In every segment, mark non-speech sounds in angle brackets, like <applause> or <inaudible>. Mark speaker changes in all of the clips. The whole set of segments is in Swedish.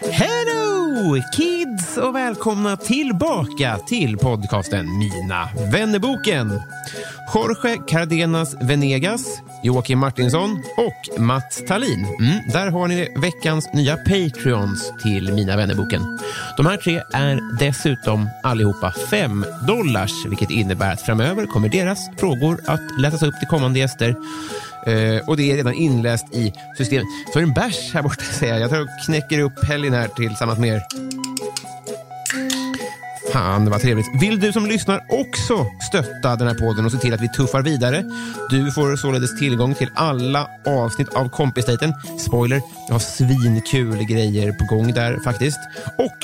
Speaker 1: Hello kids och välkomna tillbaka till podcasten Mina vännerboken. Jorge Cardenas Venegas, Joakim Martinsson och Mats Tallin. Mm, där har ni veckans nya Patreons till Mina vännerboken. De här tre är dessutom allihopa 5 dollars, vilket innebär att framöver kommer deras frågor att läsas upp till kommande gäster. Eh, och det är redan inläst i systemet. Så är det en bärs här borta säger jag. Jag tar och knäcker upp helgen här tillsammans med er. Fan vad trevligt. Vill du som lyssnar också stötta den här podden och se till att vi tuffar vidare? Du får således tillgång till alla avsnitt av Kompisdejten. Spoiler, jag har svinkul grejer på gång där faktiskt. Och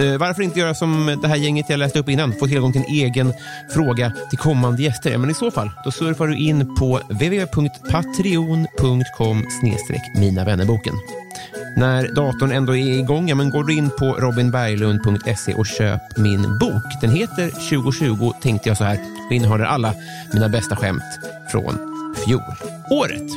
Speaker 1: Eh, varför inte göra som det här gänget jag läste upp innan? Få tillgång till en egen fråga till kommande gäster. Ja, men I så fall, då surfar du in på www.patreon.com minavännerboken. När datorn ändå är igång ja, men går du in på robinberglund.se och köp min bok. Den heter 2020 tänkte jag så här och innehåller alla mina bästa skämt från fjolåret.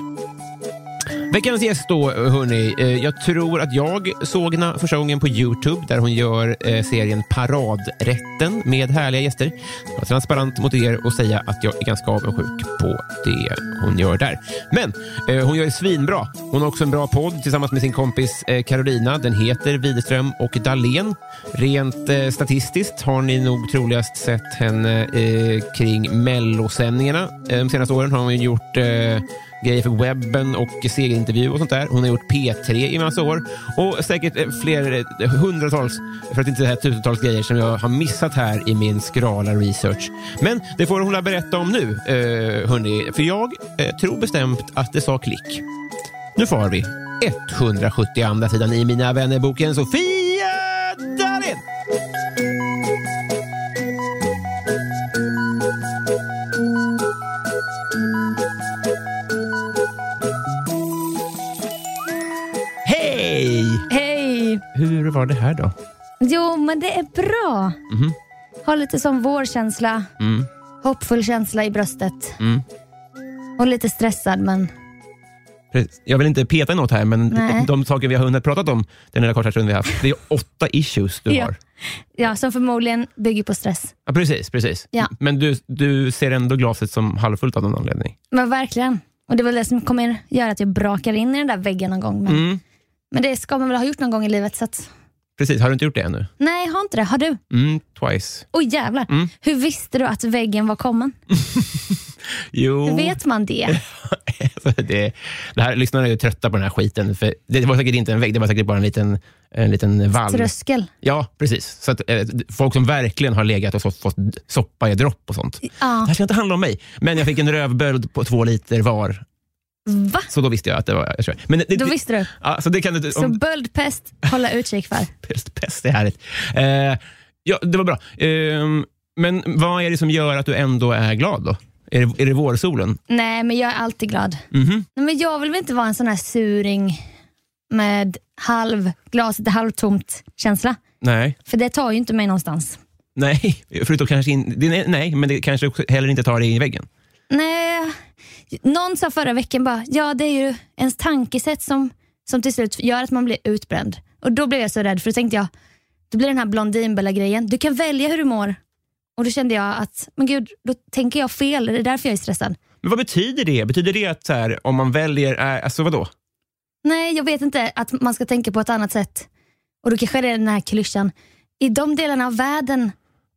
Speaker 1: Veckans gäst då, hörni. eh, Jag tror att jag såg henne första gången på Youtube där hon gör eh, serien Paradrätten med härliga gäster. Jag var transparent mot er och säga att jag är ganska avundsjuk på det hon gör där. Men eh, hon gör det svinbra. Hon har också en bra podd tillsammans med sin kompis eh, Carolina. Den heter Widerström och Dahlén. Rent eh, statistiskt har ni nog troligast sett henne eh, kring mellosändningarna. Eh, de senaste åren har hon ju gjort eh, grejer för webben och segerintervju och sånt där. Hon har gjort P3 i massa år och säkert eh, fler eh, hundratals, för att inte säga tusentals grejer som jag har missat här i min skrala research. Men det får hon berätta om nu, eh, hörni, för jag eh, tror bestämt att det sa klick. Nu far vi 170 andra sidan i Mina vännerboken Sofia Dalén! Hej!
Speaker 2: Hej!
Speaker 1: Hur var det här då?
Speaker 2: Jo, men det är bra. Ha lite som vår känsla.
Speaker 1: Mhm. Mm.
Speaker 2: Hoppfull känsla i bröstet.
Speaker 1: Mm.
Speaker 2: Och lite stressad, men
Speaker 1: Precis. Jag vill inte peta i något här, men
Speaker 2: Nej.
Speaker 1: de saker vi har hunnit pratat om den lilla korta stunden vi har haft, det är åtta issues du
Speaker 2: <laughs> Ja.
Speaker 1: har.
Speaker 2: ja, som förmodligen bygger på stress.
Speaker 1: Ja, precis, precis.
Speaker 2: Ja.
Speaker 1: Men du, du ser ändå glaset som halvfullt av någon anledning.
Speaker 2: Men verkligen. Och det är väl det som kommer göra att jag brakar in i den där väggen någon gång. Men,
Speaker 1: Mm.
Speaker 2: men det ska man väl ha gjort någon gång i livet. Så att,
Speaker 1: Precis, har du inte gjort det ännu?
Speaker 2: nej, har inte det. Har du?
Speaker 1: Mm, twice.
Speaker 2: Oj jävlar.
Speaker 1: Mm.
Speaker 2: Hur visste du att väggen var kommen?
Speaker 1: Jo.
Speaker 2: Hur vet man det?
Speaker 1: Alltså, <laughs> det, det här, lyssnarna är ju trötta på den här skiten. För det var säkert inte en vägg, det var säkert bara en liten, en liten vall.
Speaker 2: Tröskel.
Speaker 1: Ja, precis. Så att, eh, folk som verkligen har legat och så, fått soppa i dropp och sånt. Det
Speaker 2: Ja.
Speaker 1: här ska inte handla om mig, men jag fick en rövböld på två liter var
Speaker 2: Va?
Speaker 1: Så då visste jag att det var jag tror. Men det,
Speaker 2: Då
Speaker 1: det-
Speaker 2: visste du.
Speaker 1: ja, så det kan du...
Speaker 2: Så
Speaker 1: Om,
Speaker 2: böldpest, hålla utkik för.
Speaker 1: pest, pest är härligt. Eh, ja, det var bra. Ehm, men vad är det som gör att du ändå är glad då? Är det, är det vårsolen?
Speaker 2: Nej, men jag är alltid glad.
Speaker 1: Mhm.
Speaker 2: Nej, men jag vill väl inte vara en sån här suring med halv, glaset är halvtomt känsla.
Speaker 1: Nej.
Speaker 2: För det tar ju inte mig någonstans.
Speaker 1: Nej, förutom kanske in, det, nej, nej, men det kanske också heller inte tar dig in i väggen.
Speaker 2: Nej, någon sa förra veckan bara, ja det är ju ens tankesätt som, som till slut gör att man blir utbränd. Och då blev jag så rädd för då tänkte jag, då blir den här Blondinbella-grejen, du kan välja hur du mår Och Då kände jag att, men gud, då tänker jag fel. Det är därför jag är stressad.
Speaker 1: Men vad betyder det? Betyder det att så här, om man väljer, eh, alltså vadå?
Speaker 2: Nej, jag vet inte att man ska tänka på ett annat sätt. Och då kanske det är den här klyschan. I de delarna av världen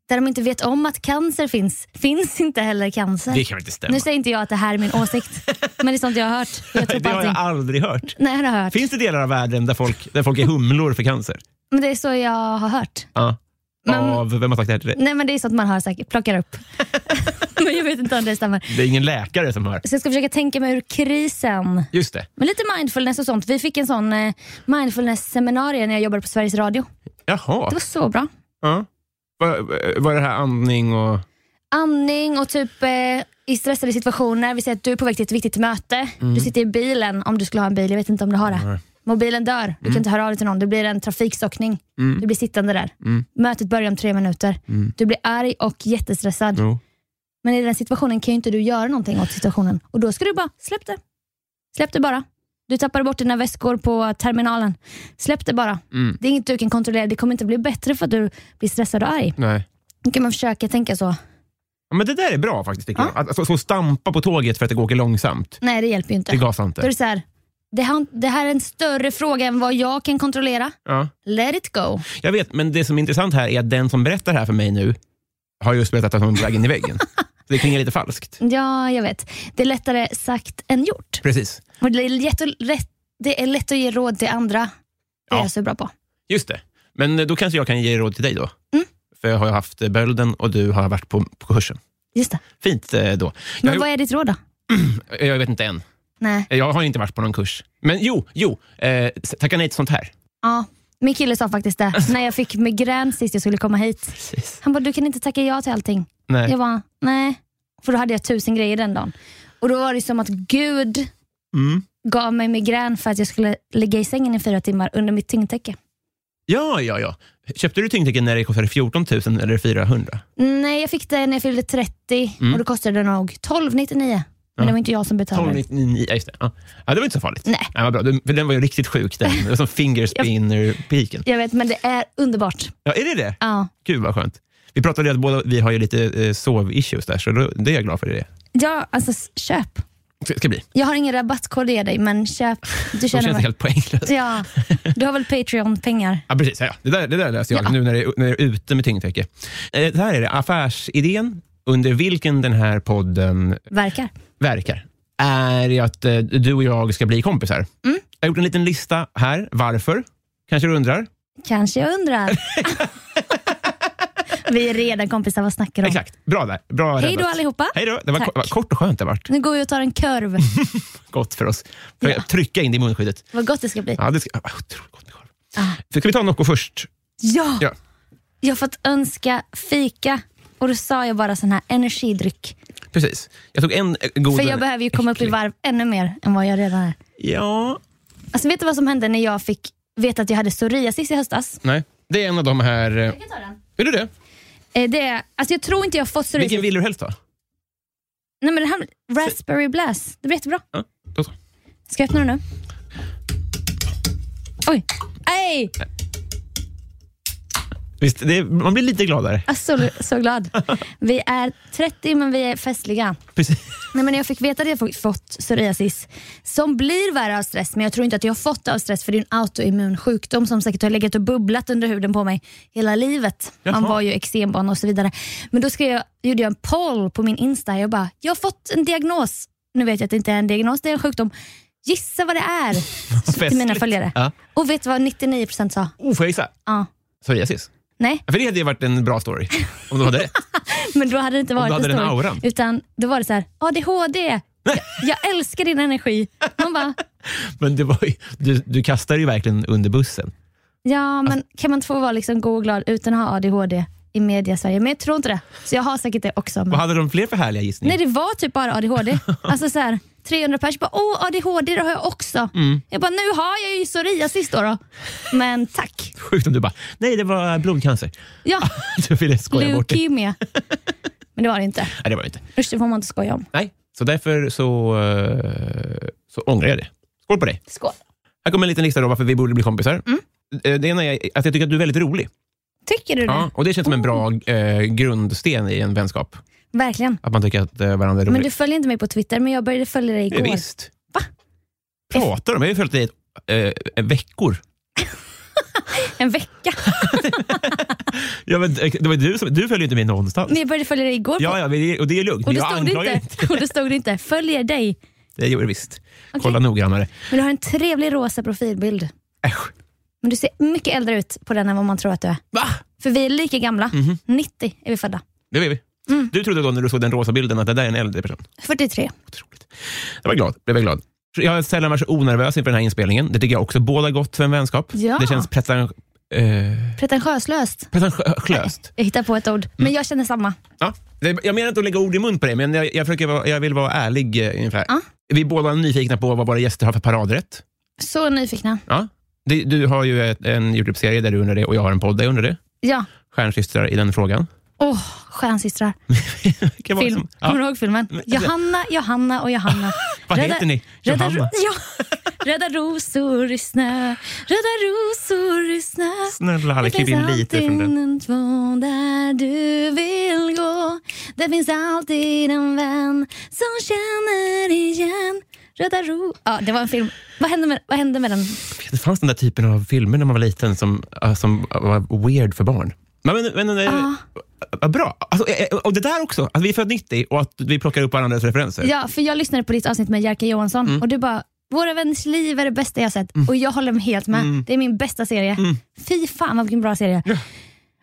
Speaker 2: där de inte vet om att cancer finns, finns inte heller cancer.
Speaker 1: Det kan väl inte stämma?
Speaker 2: Nu säger inte jag att det här är min
Speaker 1: <laughs>
Speaker 2: åsikt, men det är sånt jag har hört. Jag tror
Speaker 1: det
Speaker 2: på
Speaker 1: har
Speaker 2: allting.
Speaker 1: jag aldrig hört.
Speaker 2: Nej, det har jag hört.
Speaker 1: Finns det delar av världen där folk, där folk är humlor för cancer?
Speaker 2: Men det är så jag har hört.
Speaker 1: Ja.
Speaker 2: Men-
Speaker 1: Av, vem har sagt det här till dig?
Speaker 2: Nej, men det är sånt man har säkert,
Speaker 1: <laughs>
Speaker 2: plockar upp. men jag vet inte om det stämmer.
Speaker 1: Det är ingen läkare som hör.
Speaker 2: Så jag ska försöka tänka mig ur krisen.
Speaker 1: Just det.
Speaker 2: Men lite mindfulness och sånt. Vi fick en sån eh, mindfulness-seminarie när jag jobbade på Sveriges Radio.
Speaker 1: Jaha.
Speaker 2: Det var så bra.
Speaker 1: Ja. Var, var det här andning och...
Speaker 2: andning och typ eh, i stressade situationer. Vi säger att du är på väg till ett viktigt möte. Du sitter i bilen, om du skulle ha en bil. Jag vet inte om du har det. Mobilen dör. Du kan inte höra av dig till någon. Det blir en trafikstockning. Du blir sittande där. Mötet börjar om tre minuter. Du blir arg och jättestressad.
Speaker 1: Jo.
Speaker 2: Men i den situationen kan ju inte du göra någonting åt situationen. Och då ska du bara släpp det. Släpp det bara. Du tappade bort dina väskor på terminalen. Släpp det bara. Det är inget du kan kontrollera. Det kommer inte bli bättre för att du blir stressad och arg.
Speaker 1: Nej.
Speaker 2: Då kan man försöka tänka så.
Speaker 1: Ja, men det där är bra faktiskt. Tycker jag. Att, alltså, att, så- så stampa på tåget för att det åker långsamt.
Speaker 2: Nej, det hjälper ju inte.
Speaker 1: Det gasar
Speaker 2: Då är
Speaker 1: inte.
Speaker 2: det så här, det här, det här är en större fråga än vad jag kan kontrollera.
Speaker 1: Ja.
Speaker 2: Let it go.
Speaker 1: Jag vet, men det som är intressant här är att den som berättar det här för mig nu har just berättat att hon är på väg in i
Speaker 2: <laughs>
Speaker 1: väggen. Så det klingar lite falskt.
Speaker 2: Ja, jag vet. Det är lättare sagt än gjort.
Speaker 1: Precis.
Speaker 2: Och det, är lätt att, lätt, det är lätt att ge råd till andra. Det är
Speaker 1: Ja.
Speaker 2: jag så bra på.
Speaker 1: Just det. Men eh, då kanske jag kan ge råd till dig då.
Speaker 2: Mm.
Speaker 1: För jag har ju haft eh, bölden och du har varit på, på kursen.
Speaker 2: Just det.
Speaker 1: Fint eh, då. Jag,
Speaker 2: Men
Speaker 1: har
Speaker 2: vad är ditt råd då?
Speaker 1: gjort- <clears throat> jag vet inte än.
Speaker 2: Nej.
Speaker 1: Jag har inte varit på någon kurs. Men jo, jo. Eh, tacka nej till sånt här.
Speaker 2: Ja, min kille sa faktiskt det när jag fick migrän sist jag skulle komma hit.
Speaker 1: Precis.
Speaker 2: Han bara, du kan inte tacka ja till allting.
Speaker 1: Nej.
Speaker 2: Jag bara, nej. För då hade jag tusen grejer den dagen. Och då var det som att Gud
Speaker 1: Mm.
Speaker 2: gav mig migrän för att jag skulle ligga i sängen i fyra timmar under mitt tyngdtäcke.
Speaker 1: Ja, ja, ja. Köpte du tyngdtäcken när det kostade 14 000 eller 400?
Speaker 2: Nej, jag fick det när jag fyllde 30
Speaker 1: Mm.
Speaker 2: och då kostade det nog 12,99. Men det var inte jag som betalade.
Speaker 1: 1299, ja, just det. Ja. ja, det var inte så farligt.
Speaker 2: Nej.
Speaker 1: vad bra. Du- För den var ju riktigt sjuk den.
Speaker 2: <laughs>
Speaker 1: Det var som fingerspinner-piken.
Speaker 2: Jag vet, men det är underbart.
Speaker 1: Ja, är det det?
Speaker 2: Ja.
Speaker 1: Gud vad skönt. Vi pratade ju att båda vi har ju lite eh, sov-issues där, så då, det är jag glad för det.
Speaker 2: ja, alltså s- köp.
Speaker 1: Det ska bli.
Speaker 2: Jag har ingen rabattkod att ge dig, men köp.
Speaker 1: <laughs>
Speaker 2: Du
Speaker 1: Det
Speaker 2: känner
Speaker 1: känns
Speaker 2: mig.
Speaker 1: helt poänglöst.
Speaker 2: Ja, du har väl Patreon-pengar?
Speaker 1: Ja, precis. Ja, det, där, det där läser jag
Speaker 2: Ja.
Speaker 1: nu när det, är- när det är ute med tyngdtäcke. Eh, det här är det. Affärsidén under vilken den här podden
Speaker 2: Verkar.
Speaker 1: verkar är ju att eh, du och jag ska bli kompisar.
Speaker 2: Mm.
Speaker 1: Jag har gjort en liten lista här. Varför? Kanske du undrar?
Speaker 2: Kanske jag
Speaker 1: <laughs>
Speaker 2: undrar. Vi är redan kompisar, vad snackar du om?
Speaker 1: Exakt. Bra där. Bra
Speaker 2: Hej då
Speaker 1: räddat.
Speaker 2: allihopa.
Speaker 1: Hej då. Det var
Speaker 2: Tack.
Speaker 1: ko- vad kort och skönt det vart.
Speaker 2: Nu går vi och tar
Speaker 1: <laughs>
Speaker 2: en kurv.
Speaker 1: Gott för oss. För att Trycka in det i munskyddet.
Speaker 2: vad gott det ska bli.
Speaker 1: Ja, det ska, ah, otroligt gott med korv.
Speaker 2: Ah.
Speaker 1: Så ska vi ta Nocco först?
Speaker 2: Ja,
Speaker 1: Ja.
Speaker 2: jag har fått önska fika och då sa jag bara sån här energidryck.
Speaker 1: Precis. Jag tog en eh, god...
Speaker 2: För jag behöver ju komma upp i
Speaker 1: äcklig.
Speaker 2: varv ännu mer än vad jag redan är.
Speaker 1: Ja.
Speaker 2: Alltså vet du vad som hände när jag fick veta att jag hade psoriasis i höstas?
Speaker 1: Nej. Det är en av de här... eh,
Speaker 2: Jag kan ta den.
Speaker 1: Är du det?
Speaker 2: Eh, det är, alltså jag tror inte jag har fått psoriasis.
Speaker 1: Vilken vill du helst ha?
Speaker 2: Nej men det här, raspberry blast, det blir jättebra.
Speaker 1: Ja, då så.
Speaker 2: Ska jag öppna den nu? Oj! Nej!
Speaker 1: Visst, det är, man blir lite gladare.
Speaker 2: Jag är så, så
Speaker 1: <laughs>
Speaker 2: glad. Vi är 30 men vi är festliga.
Speaker 1: Precis.
Speaker 2: Nej, men när jag fick veta att jag fått- fått psoriasis, som blir värre av stress, men jag tror inte att jag har fått det av stress för det är en autoimmun sjukdom som säkert har legat och bubblat under huden på mig hela livet. Man
Speaker 1: Jaha.
Speaker 2: var ju eksembarn och så vidare. Men då skrev jag, gjorde jag en poll på min Insta. Jag bara, jag har fått en diagnos. Nu vet jag att det inte är en diagnos, det är en sjukdom. Gissa vad det är
Speaker 1: <laughs>
Speaker 2: till mina
Speaker 1: Festligt.
Speaker 2: följare.
Speaker 1: Ja.
Speaker 2: Och vet du vad 99% sa?
Speaker 1: Oh, får jag gissa?
Speaker 2: Ja.
Speaker 1: Psoriasis.
Speaker 2: Nej,
Speaker 1: Ja, För det hade ju varit en bra story. Om du hade rätt.
Speaker 2: men då hade det inte varit
Speaker 1: hade den
Speaker 2: story.
Speaker 1: auran.
Speaker 2: Utan då var det så här, ADHD, jag, jag älskar din energi. Man bara,
Speaker 1: Men det var ju, du, du kastar ju verkligen under bussen.
Speaker 2: Ja, men
Speaker 1: Alltså-
Speaker 2: kan man inte få vara liksom god och glad utan att ha ADHD i media Sverige? Men jag tror inte det. Så jag har säkert det också.
Speaker 1: Vad
Speaker 2: Men...
Speaker 1: hade de fler för härliga
Speaker 2: Nej,
Speaker 1: gissningar?
Speaker 2: det var typ bara
Speaker 1: <laughs>
Speaker 2: ADHD. Alltså så här, 300 pers bara, åh ADHD det har jag också.
Speaker 1: Mm.
Speaker 2: Jag bara, nu har jag ju psoriasis då. då. Men tack.
Speaker 1: Sjukt om du bara, nej det var blodcancer. <laughs>
Speaker 2: Ja,
Speaker 1: Du ville skoja bort det.
Speaker 2: leukemia. Men det var det inte.
Speaker 1: Nej, det var det inte.
Speaker 2: Usch, det får man inte skoja om.
Speaker 1: Nej, så därför så, eh, så ångrar jag det. Skål på dig.
Speaker 2: Skål. Mm.
Speaker 1: Här kommer en liten lista då varför vi borde bli kompisar. Eh, Det ena är att jag tycker att du är väldigt rolig.
Speaker 2: Tycker du det?
Speaker 1: Ja, och det känns som en bra
Speaker 2: Oh.
Speaker 1: eh, grundsten i en vänskap.
Speaker 2: Verkligen.
Speaker 1: Att man tycker att eh, varandra är
Speaker 2: Men du
Speaker 1: rolig.
Speaker 2: följer inte mig på Twitter, men jag började följa dig igår.
Speaker 1: Eh, Visst.
Speaker 2: Va?
Speaker 1: Pratar de? Jag har ju följt dig i eh, veckor.
Speaker 2: En vecka. <laughs>
Speaker 1: Ja, men, eh, det var du, som, du följer ju inte mig någonstans.
Speaker 2: Men jag började följa dig igår. på-
Speaker 1: Ja, ja, men det- och det är lugnt.
Speaker 2: och, det
Speaker 1: jag
Speaker 2: stod det
Speaker 1: anklagar
Speaker 2: inte,
Speaker 1: inte.
Speaker 2: <laughs> och det stod det inte. Följer dig.
Speaker 1: Det gjorde det visst. Kolla noggrannare.
Speaker 2: Men du har en trevlig rosa profilbild.
Speaker 1: Äsch.
Speaker 2: Men du ser mycket äldre ut på den än vad man tror att du är.
Speaker 1: Va?
Speaker 2: För vi är lika gamla.
Speaker 1: Mhm.
Speaker 2: 90 är vi födda.
Speaker 1: Det vet vi.
Speaker 2: Mm.
Speaker 1: Du trodde då när du såg den rosa bilden att det där är en äldre person.
Speaker 2: 43.
Speaker 1: Otroligt. Jag var glad. Blev jag glad. Jag är sällan varit så onervös inför den här inspelningen. Det tycker jag också båda gott för en vänskap.
Speaker 2: Ja.
Speaker 1: Det känns pretan, eh,
Speaker 2: Pretentiöslöst.
Speaker 1: pretentiöst.
Speaker 2: Jag hittar på ett ord, men
Speaker 1: Mm.
Speaker 2: jag känner samma.
Speaker 1: Ja. Det- Jag menar inte att lägga ord i mun på dig, men jag, jag, försöker, vara- jag vill vara ärlig. Eh, ungefär.
Speaker 2: Ja.
Speaker 1: Vi är båda nyfikna på vad våra gäster har för paradrätt.
Speaker 2: Så nyfikna.
Speaker 1: Ja. Du, du har ju ett, en Youtube-serie där du undrar det och jag har en podd där jag undrar det.
Speaker 2: Ja.
Speaker 1: Stjärnsystrar i den <laughs> frågan.
Speaker 2: Åh, stjärnsystrar.
Speaker 1: Det kan vara
Speaker 2: Film.
Speaker 1: som- Ja.
Speaker 2: Kommer du ihåg filmen?
Speaker 1: Men-
Speaker 2: Johanna, Johanna och Johanna.
Speaker 1: <laughs> Vad heter ni?
Speaker 2: Rädda,
Speaker 1: Johanna.
Speaker 2: ro- <laughs> ja. rädda rosor i snö, rädda rosor i snö.
Speaker 1: Snälla, Harry,
Speaker 2: Det
Speaker 1: klipp
Speaker 2: finns
Speaker 1: in lite
Speaker 2: alltid
Speaker 1: från den.
Speaker 2: en två där du vill gå. Det finns alltid en vän som känner igen. Rädda ro... Ja, det var en film. Vad hände med, vad hände med den?
Speaker 1: Det fanns den där typen av filmer när man var liten som, äh, som var weird för barn. Men, men, men, eh,
Speaker 2: Ah.
Speaker 1: vad Bra. Alltså, eh, eh, och det där också, att vi är född 90 och att vi plockar upp varandras referenser.
Speaker 2: Ja, för jag lyssnade på ditt avsnitt med Jerka Johansson
Speaker 1: Mm.
Speaker 2: och du bara, Våra vänners liv är det bästa jag sett och jag håller helt med.
Speaker 1: Mm.
Speaker 2: Det är min bästa serie. Fy fan vilken bra serie.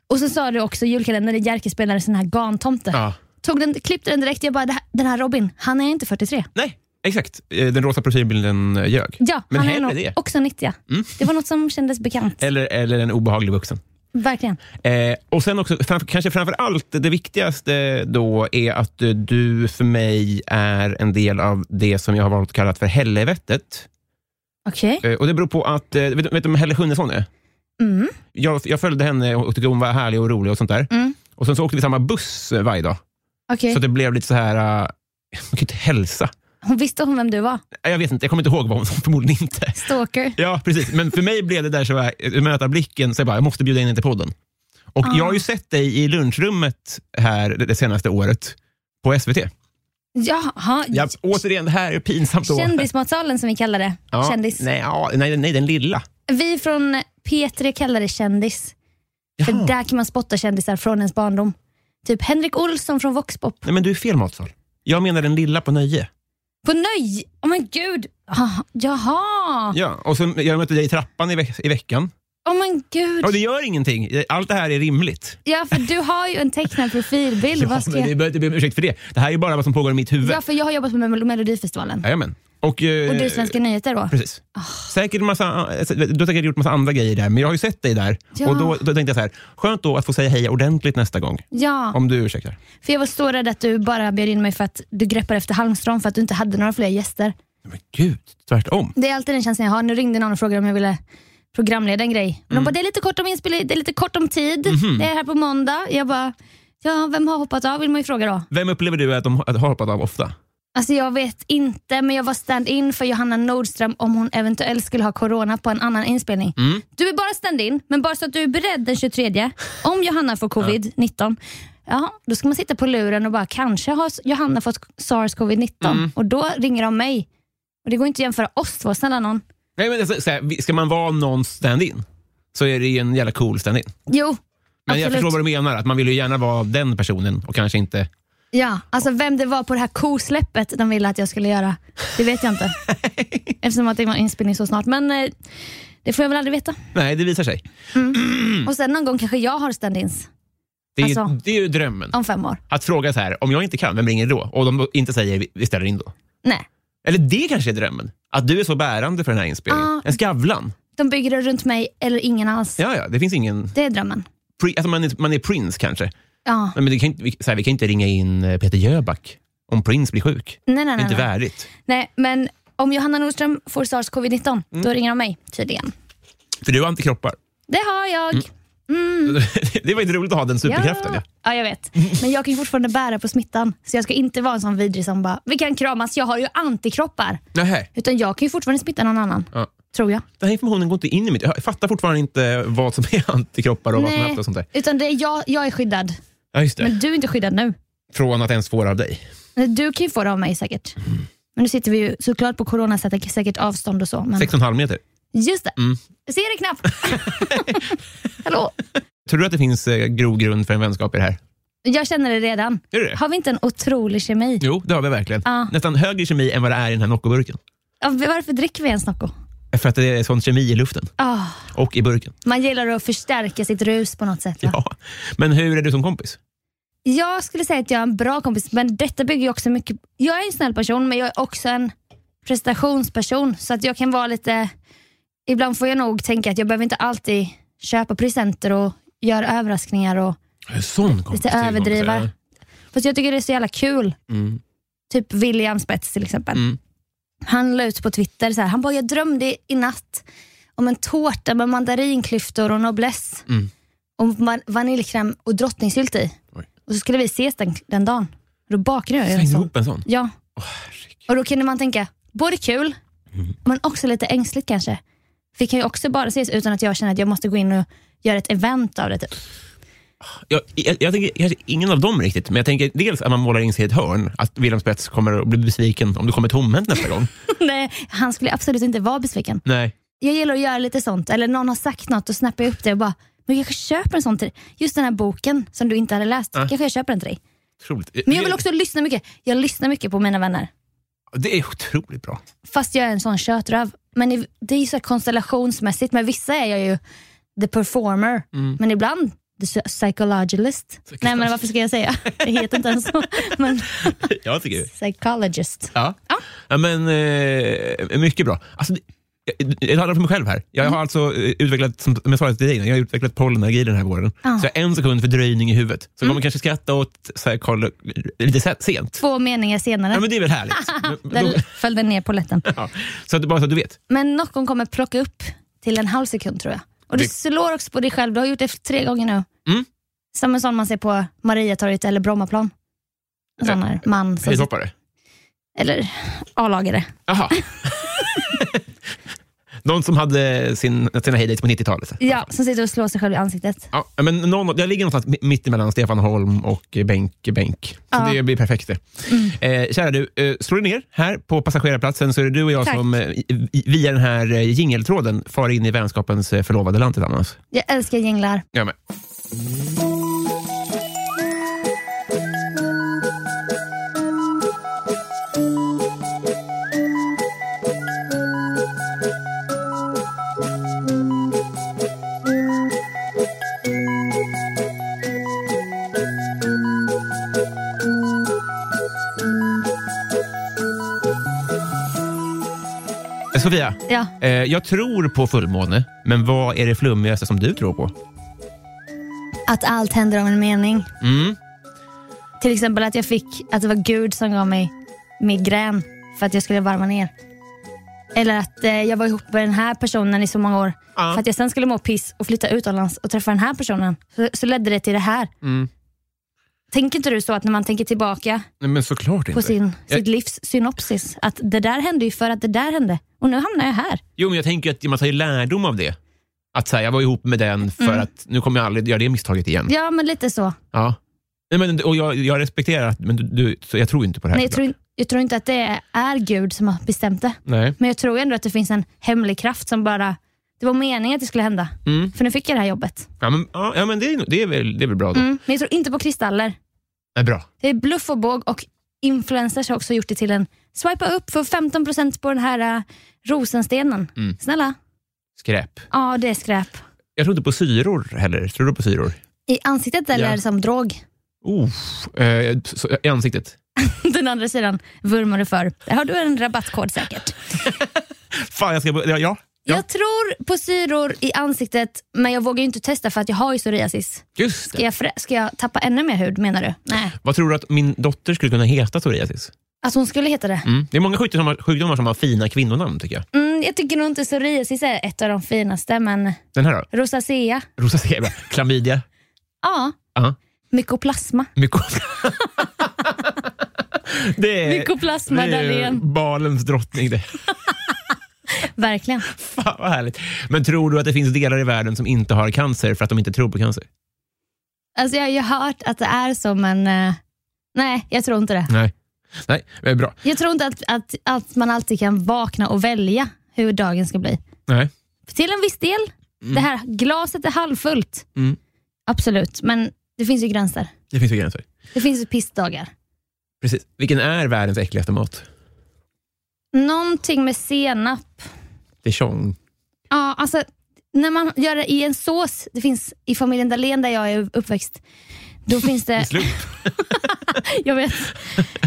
Speaker 2: Och så sa du också i julkalendern när Jerker spelade sån här gantomte.
Speaker 1: Ja.
Speaker 2: Tog den, klippte den direkt, jag bara, "Det här- den här Robin, han är inte 43.
Speaker 1: Nej, exakt. Eh, Den rosa profilbilden eh, ljög.
Speaker 2: Ja,
Speaker 1: Men
Speaker 2: han är
Speaker 1: hellre
Speaker 2: nog
Speaker 1: det. Mm. Eh.
Speaker 2: också 90. Det var något som kändes bekant.
Speaker 1: Eller, eller en obehaglig vuxen.
Speaker 2: Verkligen.
Speaker 1: Eh, och sen också, framför, kanske framför allt, det viktigaste då är att eh, du för mig är en del av det som jag har valt att kalla för helvetet.
Speaker 2: Okej.
Speaker 1: Eh, och det beror på att, eh, vet, vet du vem Helle Schunnesson är?
Speaker 2: Mm.
Speaker 1: jag, jag följde henne och tyckte hon var härlig och rolig och sånt där.
Speaker 2: Mm.
Speaker 1: Och sen så åkte vi samma buss eh, varje dag.
Speaker 2: Okej.
Speaker 1: Så det blev lite så här, eh, man kan ju inte hälsa.
Speaker 2: Hon visste hon vem du var.
Speaker 1: Eh, Jag vet inte, jag kommer inte ihåg vad hon <laughs> sa, förmodligen inte.
Speaker 2: Stalker.
Speaker 1: Ja, precis. Men för mig blev det där så här, eh, möta blicken, så jag bara, jag måste bjuda in henne till podden. Och jag har
Speaker 2: Ah.
Speaker 1: ju sett dig i lunchrummet här det det senaste året på SVT.
Speaker 2: Jaha.
Speaker 1: Ja, återigen, det här är pinsamt. då.
Speaker 2: Kändismatsalen som vi kallar det.
Speaker 1: Ja,
Speaker 2: Kändis.
Speaker 1: Nej, ja, nej, nej, den lilla.
Speaker 2: Vi från P3 kallar det kändis. För där kan man spotta kändisar från ens barndom. Typ Henrik Olsson från Voxpop.
Speaker 1: Nej, men du är fel matsal. Jag menar den lilla på nöje.
Speaker 2: På nöj! Oh Åh men gud! Ah, jaha! Oh
Speaker 1: Ja, och så, jag mötte dig i trappan i, veck- i veckan.
Speaker 2: Åh men gud!
Speaker 1: Ja, det gör ingenting. Allt det här är rimligt.
Speaker 2: Ja, för du har ju en tecknad
Speaker 1: <laughs>
Speaker 2: profilbild.
Speaker 1: Ja,
Speaker 2: Vad ska
Speaker 1: men det
Speaker 2: jag...
Speaker 1: behöver inte be om ursäkt för det. Det här är ju bara vad som pågår i mitt huvud.
Speaker 2: ja, för jag har jobbat med Mel- Melodifestivalen.
Speaker 1: Jajamän. Och, eh,
Speaker 2: Och du Svenska nyheter då?
Speaker 1: Precis. Säkert en massa, alltså, du har säkert gjort massa andra grejer där, men jag har ju sett dig där.
Speaker 2: Ja.
Speaker 1: Och då, då tänkte jag så här, skönt då att få säga hej ordentligt nästa gång.
Speaker 2: Ja,
Speaker 1: Om du ursäktar.
Speaker 2: för jag var så rädd att du bara bjöd in mig för att du greppade efter halmstrån för att du inte hade några fler gäster.
Speaker 1: Men gud, tvärtom.
Speaker 2: Det är alltid den känslan jag har. Nu ringde någon och frågade om jag ville programleda en grej. Och De bara, det är lite kort om, inspel- det är lite kort om tid. Det är här på måndag. Jag bara, ja, vem har hoppat av vill man ju fråga då.
Speaker 1: Vem upplever du att de har hoppat av ofta?
Speaker 2: Alltså jag vet inte, men jag var stand-in för Johanna Nordström om hon eventuellt skulle ha corona på en annan inspelning.
Speaker 1: Mm.
Speaker 2: Du är bara stand-in, men bara så att du är beredd den 23. Om Johanna får covid-19, ja, då ska man sitta på luren och bara, kanske har s- Johanna fått sars-covid-19
Speaker 1: Mm.
Speaker 2: och då ringer de mig. Och Det går inte att jämföra oss två, snälla någon.
Speaker 1: Nej, men alltså, så här, vi- ska man vara någon stand-in så är det ju en jävla cool stand-in.
Speaker 2: Jo,
Speaker 1: Men jag
Speaker 2: absolut.
Speaker 1: förstår vad du menar, att man vill ju gärna vara den personen och kanske inte...
Speaker 2: Ja, alltså vem det var på det här kosläppet de ville att jag skulle göra, det
Speaker 1: <laughs>
Speaker 2: vet jag inte. Eftersom att det var inspelning så snart. Men eh, det får jag väl aldrig veta.
Speaker 1: Nej, det visar sig.
Speaker 2: Och sen någon gång kanske jag har stand-ins
Speaker 1: Det är, ju,
Speaker 2: Alltså.
Speaker 1: det är ju drömmen.
Speaker 2: om fem år.
Speaker 1: Att fråga så här, om jag inte kan, vem ringer då? Och de inte säger, vi- vi ställer in då.
Speaker 2: Nej,
Speaker 1: Eller det kanske är drömmen? Att du är så bärande för den här inspelningen.
Speaker 2: Ja.
Speaker 1: En Skavlan.
Speaker 2: de bygger det runt mig eller ingen alls.
Speaker 1: Ja, ja, det finns ingen...
Speaker 2: Det är drömmen.
Speaker 1: Pri, alltså man, är, man är Prince kanske.
Speaker 2: Ja.
Speaker 1: Men det kan inte, vi, så här, vi kan inte ringa in eh, Peter Jöback om Prince blir sjuk.
Speaker 2: Nej, nej,
Speaker 1: Det är
Speaker 2: nej,
Speaker 1: inte
Speaker 2: nej.
Speaker 1: värdigt.
Speaker 2: nej, men om Johanna Nordström får sars-covid-19, då
Speaker 1: Mm.
Speaker 2: ringer de mig tydligen.
Speaker 1: För du har antikroppar.
Speaker 2: Det har jag.
Speaker 1: Mm. <laughs> det var inte roligt att ha den superkraften. Ja.
Speaker 2: Mm. Ja. ja, jag vet. Men jag kan ju fortfarande bära på smittan. Så jag ska inte vara en sån vidrig som bara, vi kan kramas, jag har ju antikroppar.
Speaker 1: Nähä.
Speaker 2: Utan jag kan ju fortfarande smitta någon annan.
Speaker 1: Ja.
Speaker 2: tror jag.
Speaker 1: Den här informationen går inte in i mitt... Jag fattar fortfarande inte vad som är <laughs> antikroppar och vad som är
Speaker 2: Nej,
Speaker 1: allt och sånt där.
Speaker 2: utan det är jag, jag är skyddad.
Speaker 1: Ja, just det.
Speaker 2: Men du är inte skyddad nu.
Speaker 1: Från att ens få det av dig.
Speaker 2: Nej, Du kan ju få det av mig säkert. Men nu sitter vi ju såklart på corona, så att det är säkert avstånd och så. Men
Speaker 1: Sex Mm. och en halv meter.
Speaker 2: just det, jag ser det knappt. <laughs> Hallå.
Speaker 1: Tror du att det finns eh, grogrund för en vänskap i det här?
Speaker 2: Jag känner det redan.
Speaker 1: Gör du det?
Speaker 2: Har vi inte en otrolig kemi?
Speaker 1: Jo, det har vi verkligen.
Speaker 2: Ja.
Speaker 1: Nästan högre kemi än vad det är i den här Nocco-burken.
Speaker 2: Ja, varför dricker vi ens Nocco?
Speaker 1: För att det är sån kemi i luften
Speaker 2: Ah,
Speaker 1: och i burken.
Speaker 2: man gillar att förstärka sitt rus på något sätt. Va?
Speaker 1: Ja. Men hur är du som kompis?
Speaker 2: Jag skulle säga att jag är en bra kompis, men detta bygger ju också mycket... Jag är en snäll person, men jag är också en prestationsperson. Så att jag kan vara lite... Ibland får jag nog tänka att jag behöver inte alltid köpa presenter och göra överraskningar och
Speaker 1: Sån kompis.
Speaker 2: lite överdriva. Fast jag tycker det är så jävla kul.
Speaker 1: Mm.
Speaker 2: Typ William Spets till exempel.
Speaker 1: Mm.
Speaker 2: Han la ut på Twitter, så här, han bara, jag drömde i natt om en tårta med mandarinklyftor och noblesse.
Speaker 1: Mm.
Speaker 2: Och man, vaniljkräm och drottningsylt i.
Speaker 1: Oj.
Speaker 2: Och så skulle vi ses den, den dagen. Då bakade jag ju en
Speaker 1: Slängde
Speaker 2: sån.
Speaker 1: ihop en sån?
Speaker 2: Ja.
Speaker 1: Åh, herregud. Mm.
Speaker 2: Och då kunde man tänka, både kul, men också lite ängsligt kanske. Vi kan ju också bara ses utan att jag känner att jag måste gå in och göra ett event av det. Typ.
Speaker 1: jag, jag, jag tänker kanske ingen av dem riktigt, men jag tänker dels att man målar in sig i ett hörn. Att Wilhelm Spets kommer att bli besviken om du kommer tomhänt nästa gång.
Speaker 2: <laughs> Nej, han skulle absolut inte vara besviken.
Speaker 1: <laughs> Nej.
Speaker 2: jag gillar att göra lite sånt, eller någon har sagt något och snappar jag upp det och bara, men jag kanske köper en sån till dig. Just den här boken som du inte hade läst, kanske jag köper den till dig.
Speaker 1: Otroligt.
Speaker 2: Men jag vill också lyssna mycket. Jag lyssnar mycket på mina vänner,
Speaker 1: Det är otroligt <laughs> bra.
Speaker 2: fast jag är en sån tjötröv. Men i- det är ju så här konstellationsmässigt, med vissa är jag ju the performer,
Speaker 1: Mm.
Speaker 2: men ibland the psy- psychologist. Nej men varför ska jag säga? <laughs> Det heter inte ens så. Men
Speaker 1: Jag tycker det.
Speaker 2: psychologist.
Speaker 1: Ja.
Speaker 2: Ja.
Speaker 1: ja men, eh, mycket bra. Alltså, det- jag, jag talar för mig själv här. Jag har
Speaker 2: Mm.
Speaker 1: alltså eh, utvecklat, som jag sa till dig, innan, jag har utvecklat pollenallergi den här våren.
Speaker 2: Ja.
Speaker 1: Så jag har en sekund fördröjning i huvudet.
Speaker 2: Mm.
Speaker 1: Så kommer kanske skratta åt så här, Carl, lite se- sent.
Speaker 2: Två meningar senare,
Speaker 1: Ja, men det är väl <laughs> härligt? Men-
Speaker 2: där
Speaker 1: då,
Speaker 2: föll den ner på lätten.
Speaker 1: ja. så att, bara så att du vet.
Speaker 2: Men Nocon kommer plocka upp till en halv sekund tror jag. Och du
Speaker 1: Det-
Speaker 2: slår också på dig själv, du har gjort det tre gånger nu.
Speaker 1: Mm.
Speaker 2: Som en sån man ser på Mariatorget eller Brommaplan. En sån
Speaker 1: Eh,
Speaker 2: här man, som,
Speaker 1: Höjdhoppare?
Speaker 2: eller A-lagare.
Speaker 1: Jaha. <laughs> Någon som hade sin, sina heydays på 90-talet.
Speaker 2: Ja, som sitter och slår sig själv i ansiktet.
Speaker 1: Ja, men någon, jag ligger någonstans mi- mitt emellan Stefan Holm och Benk Benk. Så
Speaker 2: Ja.
Speaker 1: det blir perfekt det. Eh, kära du, eh, slå dig ner här på passagerarplatsen så är det du och jag
Speaker 2: Tack.
Speaker 1: som eh, i- i- via den här eh, jingeltråden far in i vänskapens eh, förlovade land tillsammans.
Speaker 2: Jag älskar jinglar.
Speaker 1: Jag med. Eh, Sofia,
Speaker 2: Ja.
Speaker 1: eh, jag tror på fullmåne, men vad är det flummigaste som du tror på?
Speaker 2: Att allt händer av en mening.
Speaker 1: Mm.
Speaker 2: Till exempel att jag fick, att det var Gud som gav mig migrän för att jag skulle varva ner. Eller att eh, jag var ihop med den här personen i så många år.
Speaker 1: Ja.
Speaker 2: För att jag sen skulle må piss och flytta utomlands och träffa den här personen. Så, så ledde det till det här.
Speaker 1: Mm.
Speaker 2: Tänker inte du så att när man tänker tillbaka
Speaker 1: Nej, men såklart
Speaker 2: på
Speaker 1: inte.
Speaker 2: sin,
Speaker 1: Jag-
Speaker 2: sitt livs synopsis, att det där hände ju för att det där hände och nu hamnar jag här.
Speaker 1: Jo, men jag tänker att man tar ju lärdom av det. Att säga, jag var ihop med den för att nu kommer jag aldrig göra det misstaget igen.
Speaker 2: Mm. Ja, men lite så.
Speaker 1: Ja. Nej, men, och jag, jag respekterar att, men du, du, så jag tror inte på det här.
Speaker 2: Nej, jag, tror, in- jag tror inte att det är, är Gud som har bestämt det.
Speaker 1: Nej.
Speaker 2: Men jag tror ändå att det finns en hemlig kraft som bara, det var meningen att det skulle hända.
Speaker 1: Mm.
Speaker 2: För nu fick jag det här jobbet.
Speaker 1: Ja, men, ja, ja, men det, är, nog- det, är väl, det är väl bra då.
Speaker 2: Mm. Men jag tror inte på kristaller.
Speaker 1: Nej, bra.
Speaker 2: Det är bluff och båg och influencers har också gjort det till en swipa upp för 15% på den här eh, rosenstenen.
Speaker 1: Mm.
Speaker 2: Snälla.
Speaker 1: Skräp.
Speaker 2: Ja, det är skräp.
Speaker 1: Jag tror inte på syror heller. Tror du på syror?
Speaker 2: I ansiktet eller
Speaker 1: Ja.
Speaker 2: som drog. <laughs>
Speaker 1: Oh, eh, så, I ansiktet.
Speaker 2: Den andra sidan vurmar du för. Där har du en rabattkod säkert.
Speaker 1: Fan, jag ska börja... Ja, Ja.
Speaker 2: Jag tror på syror i ansiktet men jag vågar ju inte testa för att jag har ju psoriasis.
Speaker 1: just det.
Speaker 2: Ska jag, frä- ska jag tappa ännu mer hud menar du? Nej.
Speaker 1: Vad tror du att min dotter skulle kunna heta psoriasis?
Speaker 2: Att hon skulle heta det?
Speaker 1: Mm. Det är många sjukdomar, sjukdomar som har fina kvinnonamn, tycker jag.
Speaker 2: Mm, jag tycker nog inte psoriasis är ett av de finaste men
Speaker 1: Den här då?
Speaker 2: rosacea,
Speaker 1: Rosa zebra. Klamydia.
Speaker 2: ja.
Speaker 1: Ja.
Speaker 2: Mykoplasma.
Speaker 1: Myko- det är, <laughs>
Speaker 2: Mykoplasma
Speaker 1: Eh, det är ju <laughs>
Speaker 2: Dahlén.
Speaker 1: balens drottning. Det.
Speaker 2: <laughs> Verkligen.
Speaker 1: Vad härligt. Men tror du att det finns delar i världen som inte har cancer för att de inte tror på cancer?
Speaker 2: Alltså, jag har ju hört att det är så, men eh, nej, jag tror inte det.
Speaker 1: Nej. Nej, det är bra.
Speaker 2: Jag tror inte att, att, att man alltid kan vakna och välja hur dagen ska bli.
Speaker 1: Nej.
Speaker 2: Till en viss del. Det här glaset är halvfullt.
Speaker 1: Mm.
Speaker 2: Absolut, men det finns ju gränser.
Speaker 1: Det finns ju gränser.
Speaker 2: Det finns ju pissdagar.
Speaker 1: Precis. Vilken är världens äckligaste mat?
Speaker 2: Någonting med senap.
Speaker 1: Dijon.
Speaker 2: Ja, alltså, när man gör det i en sås, det finns i familjen Dahlén där jag är uppväxt, då finns det...
Speaker 1: Slump.
Speaker 2: jag vet,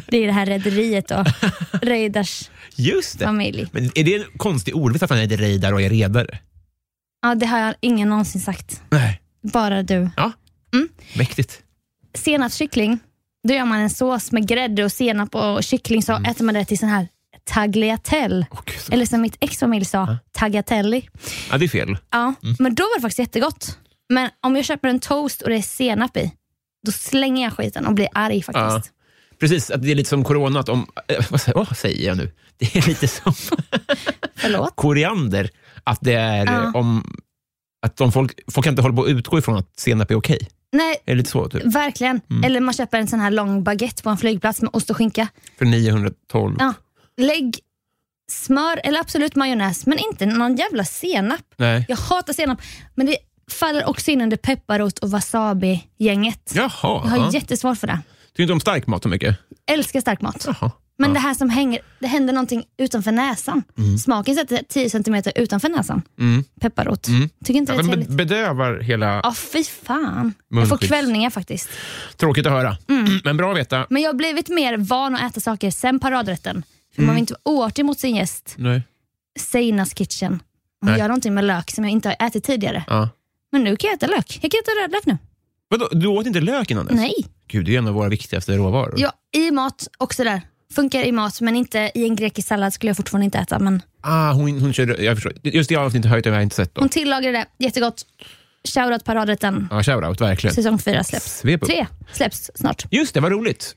Speaker 2: det är det här rederiet då. Reidars
Speaker 1: Just det.
Speaker 2: familj.
Speaker 1: Men är det en konstig ordvits att han heter Reidar och är redare?
Speaker 2: Ja, det har jag ingen någonsin sagt.
Speaker 1: Nej.
Speaker 2: Bara du.
Speaker 1: Ja. Mäktigt.
Speaker 2: senapskyckling, då gör man en sås med grädde och senap och kyckling, så äter man det till sån här tagliatelle.
Speaker 1: Åh, gud, så-
Speaker 2: Eller som mitt ex-familj sa, tagliatelli.
Speaker 1: ja, det är fel.
Speaker 2: Ja, men då var det faktiskt jättegott. Men om jag köper en toast och det är senap i, då slänger jag skiten och blir arg faktiskt.
Speaker 1: Precis, att det är lite som corona. Att om, eh, vad, sä- vad säger jag nu? Det är lite som
Speaker 2: Förlåt?
Speaker 1: koriander. Att det är
Speaker 2: Ja.
Speaker 1: eh, om... Att de folk, folk kan inte hålla på att utgå ifrån att senap är okej.
Speaker 2: Nej,
Speaker 1: Är det lite så? Typ?
Speaker 2: Mm. verkligen. Eller man köper en sån här lång baguette på en flygplats med ost och skinka.
Speaker 1: För 912?
Speaker 2: Ja. Lägg smör eller absolut majonnäs, men inte någon jävla senap.
Speaker 1: Nej.
Speaker 2: Jag hatar senap, men det faller också in under pepparrot och wasabi-gänget.
Speaker 1: Jaha.
Speaker 2: Jag har
Speaker 1: ja.
Speaker 2: jättesvårt för det.
Speaker 1: Tycker inte om stark mat så mycket?
Speaker 2: Älskar stark mat.
Speaker 1: Jaha.
Speaker 2: Men det här som hänger, det händer någonting utanför näsan. Smaken sätter 10 centimeter utanför näsan.
Speaker 1: Mm.
Speaker 2: Pepparrot. Tycker
Speaker 1: Ja,
Speaker 2: inte det är
Speaker 1: den
Speaker 2: trevligt.
Speaker 1: be- bedövar hela...
Speaker 2: Ja, fy fan. Jag får
Speaker 1: Munskydds.
Speaker 2: kvällningar faktiskt.
Speaker 1: Tråkigt att höra,
Speaker 2: Mm.
Speaker 1: <clears throat> men bra att veta.
Speaker 2: Men jag har blivit mer van att äta saker sen paradrätten. För
Speaker 1: Mm.
Speaker 2: Man vill inte vara oartig mot sin gäst.
Speaker 1: Nej.
Speaker 2: Seinas kitchen. Hon
Speaker 1: Nej.
Speaker 2: gör någonting med lök som jag inte har ätit tidigare.
Speaker 1: Ja.
Speaker 2: Men nu kan jag äta lök. Jag kan äta rödlök nu.
Speaker 1: Vadå, du åt inte lök innan dess?
Speaker 2: Nej.
Speaker 1: Gud, det är en av våra viktigaste råvaror.
Speaker 2: Ja, i mat också där. Funkar i mat, men inte i en grekisk sallad skulle jag fortfarande inte äta. Men
Speaker 1: Ah, hon, hon kör, jag förstår. Just det avsnittet har jag tyvärr inte sett. Då.
Speaker 2: hon tillagade det jättegott. Shoutout paradrätten.
Speaker 1: Ja, shoutout, verkligen.
Speaker 2: Säsong fyra släpps.
Speaker 1: Svep upp.
Speaker 2: Tre släpps snart.
Speaker 1: Just det, vad roligt.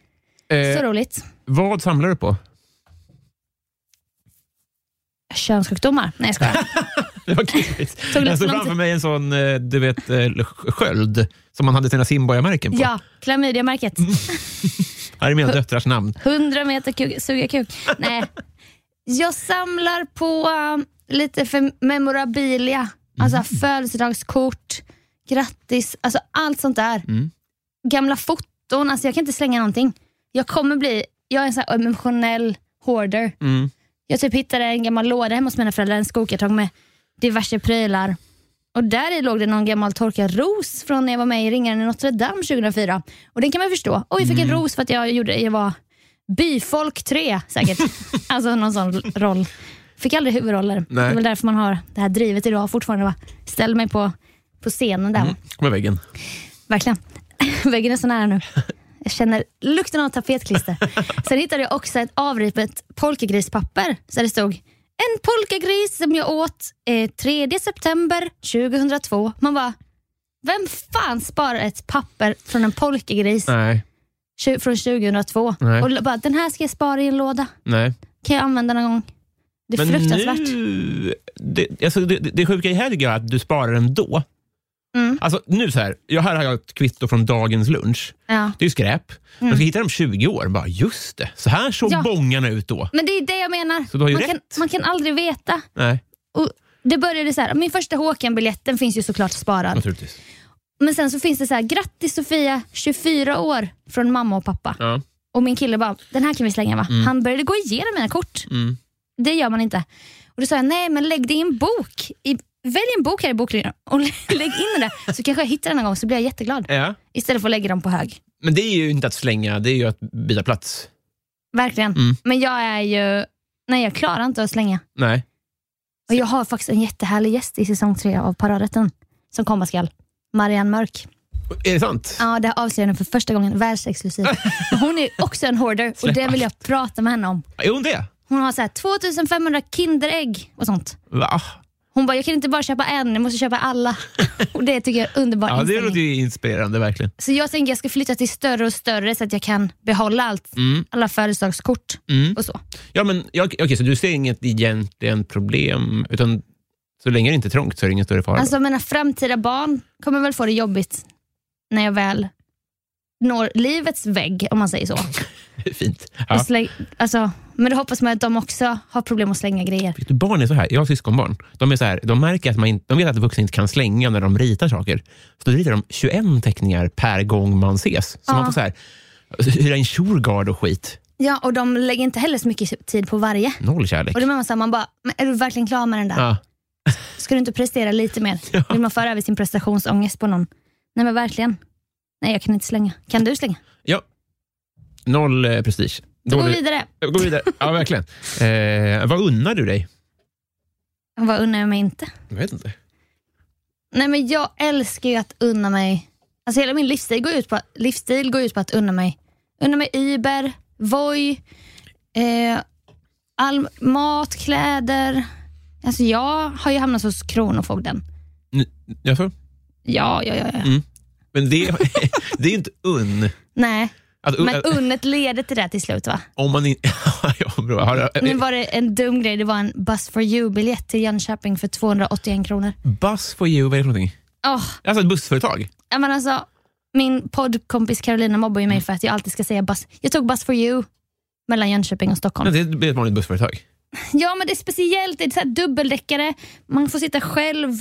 Speaker 2: Så
Speaker 1: Eh,
Speaker 2: roligt.
Speaker 1: vad samlar du på? <laughs>
Speaker 2: Könssjukdomar. Nej,
Speaker 1: <laughs>
Speaker 2: jag skojar.
Speaker 1: Det var klurigt.
Speaker 2: Tog lite
Speaker 1: jag såg
Speaker 2: lång
Speaker 1: framför
Speaker 2: tid.
Speaker 1: mig en sån eh, du vet, eh, sköld som man hade sina simborgarmärken på.
Speaker 2: ja, klamydiamärket.
Speaker 1: Här är mina döttrars namn.
Speaker 2: 100 meter kuk, suga kuk. Nej. Jag samlar på um, lite för memorabilia. Alltså födelsedagskort, grattis, alltså allt sånt där.
Speaker 1: Mm.
Speaker 2: Gamla foton, alltså jag kan inte slänga någonting. Jag kommer bli, jag är en sån här emotionell hoarder.
Speaker 1: Mm.
Speaker 2: Jag typ hittade en gammal låda hemma hos mina föräldrar, en skokartong med diverse prylar. Och där i låg det någon gammal torkad ros från när jag var med i Ringaren i Notre Dame 2004. Och den kan man förstå. Oj, jag fick
Speaker 1: Mm.
Speaker 2: en ros för att jag, gjorde, jag var byfolk 3
Speaker 1: <laughs>
Speaker 2: säkert. alltså någon sån roll. Fick aldrig huvudroller.
Speaker 1: Nej.
Speaker 2: Det är väl därför man har det här drivet idag fortfarande. Va? Ställ mig på, på scenen där. va?
Speaker 1: Kom med Mm. väggen.
Speaker 2: Verkligen. <laughs> Väggen är så nära nu. Jag känner lukten
Speaker 1: <laughs>
Speaker 2: av tapetklister. Sen hittade jag också ett avripet polkagrispapper där det stod en polkagris som jag åt eh, 3 september 2002. Man bara, vem fan sparar ett papper från en polkagris
Speaker 1: Nej,
Speaker 2: tju- från 2002?
Speaker 1: Nej.
Speaker 2: Och bara, den här ska jag spara i en låda.
Speaker 1: nej.
Speaker 2: Kan jag använda någon gång? Det är fruktansvärt.
Speaker 1: nu... Det, alltså, det, det sjuka i helg är att du sparar den då.
Speaker 2: Mm.
Speaker 1: Alltså, nu så här, jag, här har jag ett kvitto från dagens lunch.
Speaker 2: Ja.
Speaker 1: Det är ju skräp. Man ska hitta dem 20 år. Bara, just det, så här såg
Speaker 2: Mm. Ja.
Speaker 1: bångarna ut då.
Speaker 2: Men det är det jag menar.
Speaker 1: Så du har ju
Speaker 2: man,
Speaker 1: rätt.
Speaker 2: kan, man kan aldrig veta.
Speaker 1: Nej,
Speaker 2: Och det började så här, min första Håkan-biljetten finns ju såklart sparad.
Speaker 1: naturligtvis.
Speaker 2: Men sen så finns det så här, grattis Sofia, 24 år från mamma och pappa.
Speaker 1: Ja.
Speaker 2: Och min kille bara, den här kan vi slänga va? Han började gå igenom mina kort.
Speaker 1: Mm.
Speaker 2: Det gör man inte. Och Då sa jag, nej men lägg det i en bok. I, välj en bok här i boklådan <laughs> och lägg in det så kanske jag hittar den någon gång så blir jag jätteglad.
Speaker 1: Ja.
Speaker 2: Istället för att lägga dem på hög.
Speaker 1: Men det är ju inte att slänga, det är ju att byta plats.
Speaker 2: Verkligen.
Speaker 1: Mm.
Speaker 2: Men jag är ju, nej jag klarar inte att slänga.
Speaker 1: Nej.
Speaker 2: Och jag har faktiskt en jättehärlig gäst i säsong tre av Paradrätten som komma skall. Marianne Mörk.
Speaker 1: Är det sant?
Speaker 2: Ja, det här avslöjar jag nu för första
Speaker 1: <laughs>
Speaker 2: gången världsexklusiv. Men Hon är ju också en hoarder och
Speaker 1: Släpp
Speaker 2: det vill jag prata med henne om.
Speaker 1: Är hon det?
Speaker 2: Hon har så här 2500 Kinderägg och sånt.
Speaker 1: Va?
Speaker 2: Hon bara, jag kan inte bara köpa en, jag måste
Speaker 1: <laughs>
Speaker 2: köpa alla. Och Det tycker jag är underbart.
Speaker 1: Ja, det låter ju inspirerande verkligen.
Speaker 2: Så jag tänker jag ska flytta till större och större så att jag kan behålla allt. Alla födelsedagskort
Speaker 1: Mm.
Speaker 2: och så.
Speaker 1: Ja, men, ja, okej, så du ser inget egentligen problem, utan Så länge det inte är trångt så är det ingen större fara.
Speaker 2: Alltså mina framtida barn kommer väl få det jobbigt när jag väl når livets vägg, om man säger så.
Speaker 1: <laughs> Fint.
Speaker 2: Och
Speaker 1: Ja.
Speaker 2: släng, alltså, men då hoppas man att de också har problem att slänga grejer.
Speaker 1: Vet du, barn är så här. Jag har syskonbarn. De, är så här, de, märker att man in, de vet att vuxna inte kan slänga när de ritar saker. Så då ritar de 21 teckningar per gång man ses. Så
Speaker 2: Ja.
Speaker 1: man får så här, hyra in Shurgard och skit.
Speaker 2: Ja, och de lägger inte heller så mycket tid på varje.
Speaker 1: Noll kärlek.
Speaker 2: Och då menar man, så här, man bara, men är du verkligen klar med den där?
Speaker 1: Ja.
Speaker 2: Ska du inte prestera lite mer? Vill man föra över sin prestationsångest på någon? Nej men verkligen. Nej jag kan inte slänga. Kan du slänga?
Speaker 1: ja. Noll eh, prestige.
Speaker 2: Då går vi
Speaker 1: Dålig-
Speaker 2: vidare.
Speaker 1: Gå vidare. Ja, verkligen. Eh, vad unnar du dig?
Speaker 2: Vad unnar jag mig inte?
Speaker 1: Jag vet inte.
Speaker 2: Nej men jag älskar ju att unna mig. Alltså hela min livsstil går ut på, livsstil går ut på att unna mig. Unna mig Uber, Voi, eh, all mat, kläder. Alltså jag har ju hamnat hos Kronofogden.
Speaker 1: Jaså?
Speaker 2: Ja, ja, ja. ja.
Speaker 1: Mm. Men det, <laughs> det är ju inte unn.
Speaker 2: Nej,
Speaker 1: Att, eh,
Speaker 2: men unnet leder till det till slut va?
Speaker 1: om man in, <laughs> ja, bra. Har, du-
Speaker 2: Nu var det en dum grej, det var en Bus for you-biljett till Jönköping för 281 kronor.
Speaker 1: Buzz for you, vad är det för någonting?
Speaker 2: Åh,
Speaker 1: Alltså ett bussföretag?
Speaker 2: ja men alltså, min poddkompis Carolina mobbar ju
Speaker 1: Mm.
Speaker 2: mig för att jag alltid ska säga Bus. Jag tog Bus for you mellan Jönköping och
Speaker 1: Men
Speaker 2: Stockholm.
Speaker 1: det blir ett vanligt bussföretag.
Speaker 2: Ja men det är speciellt, det är så här dubbeldäckare, man får sitta själv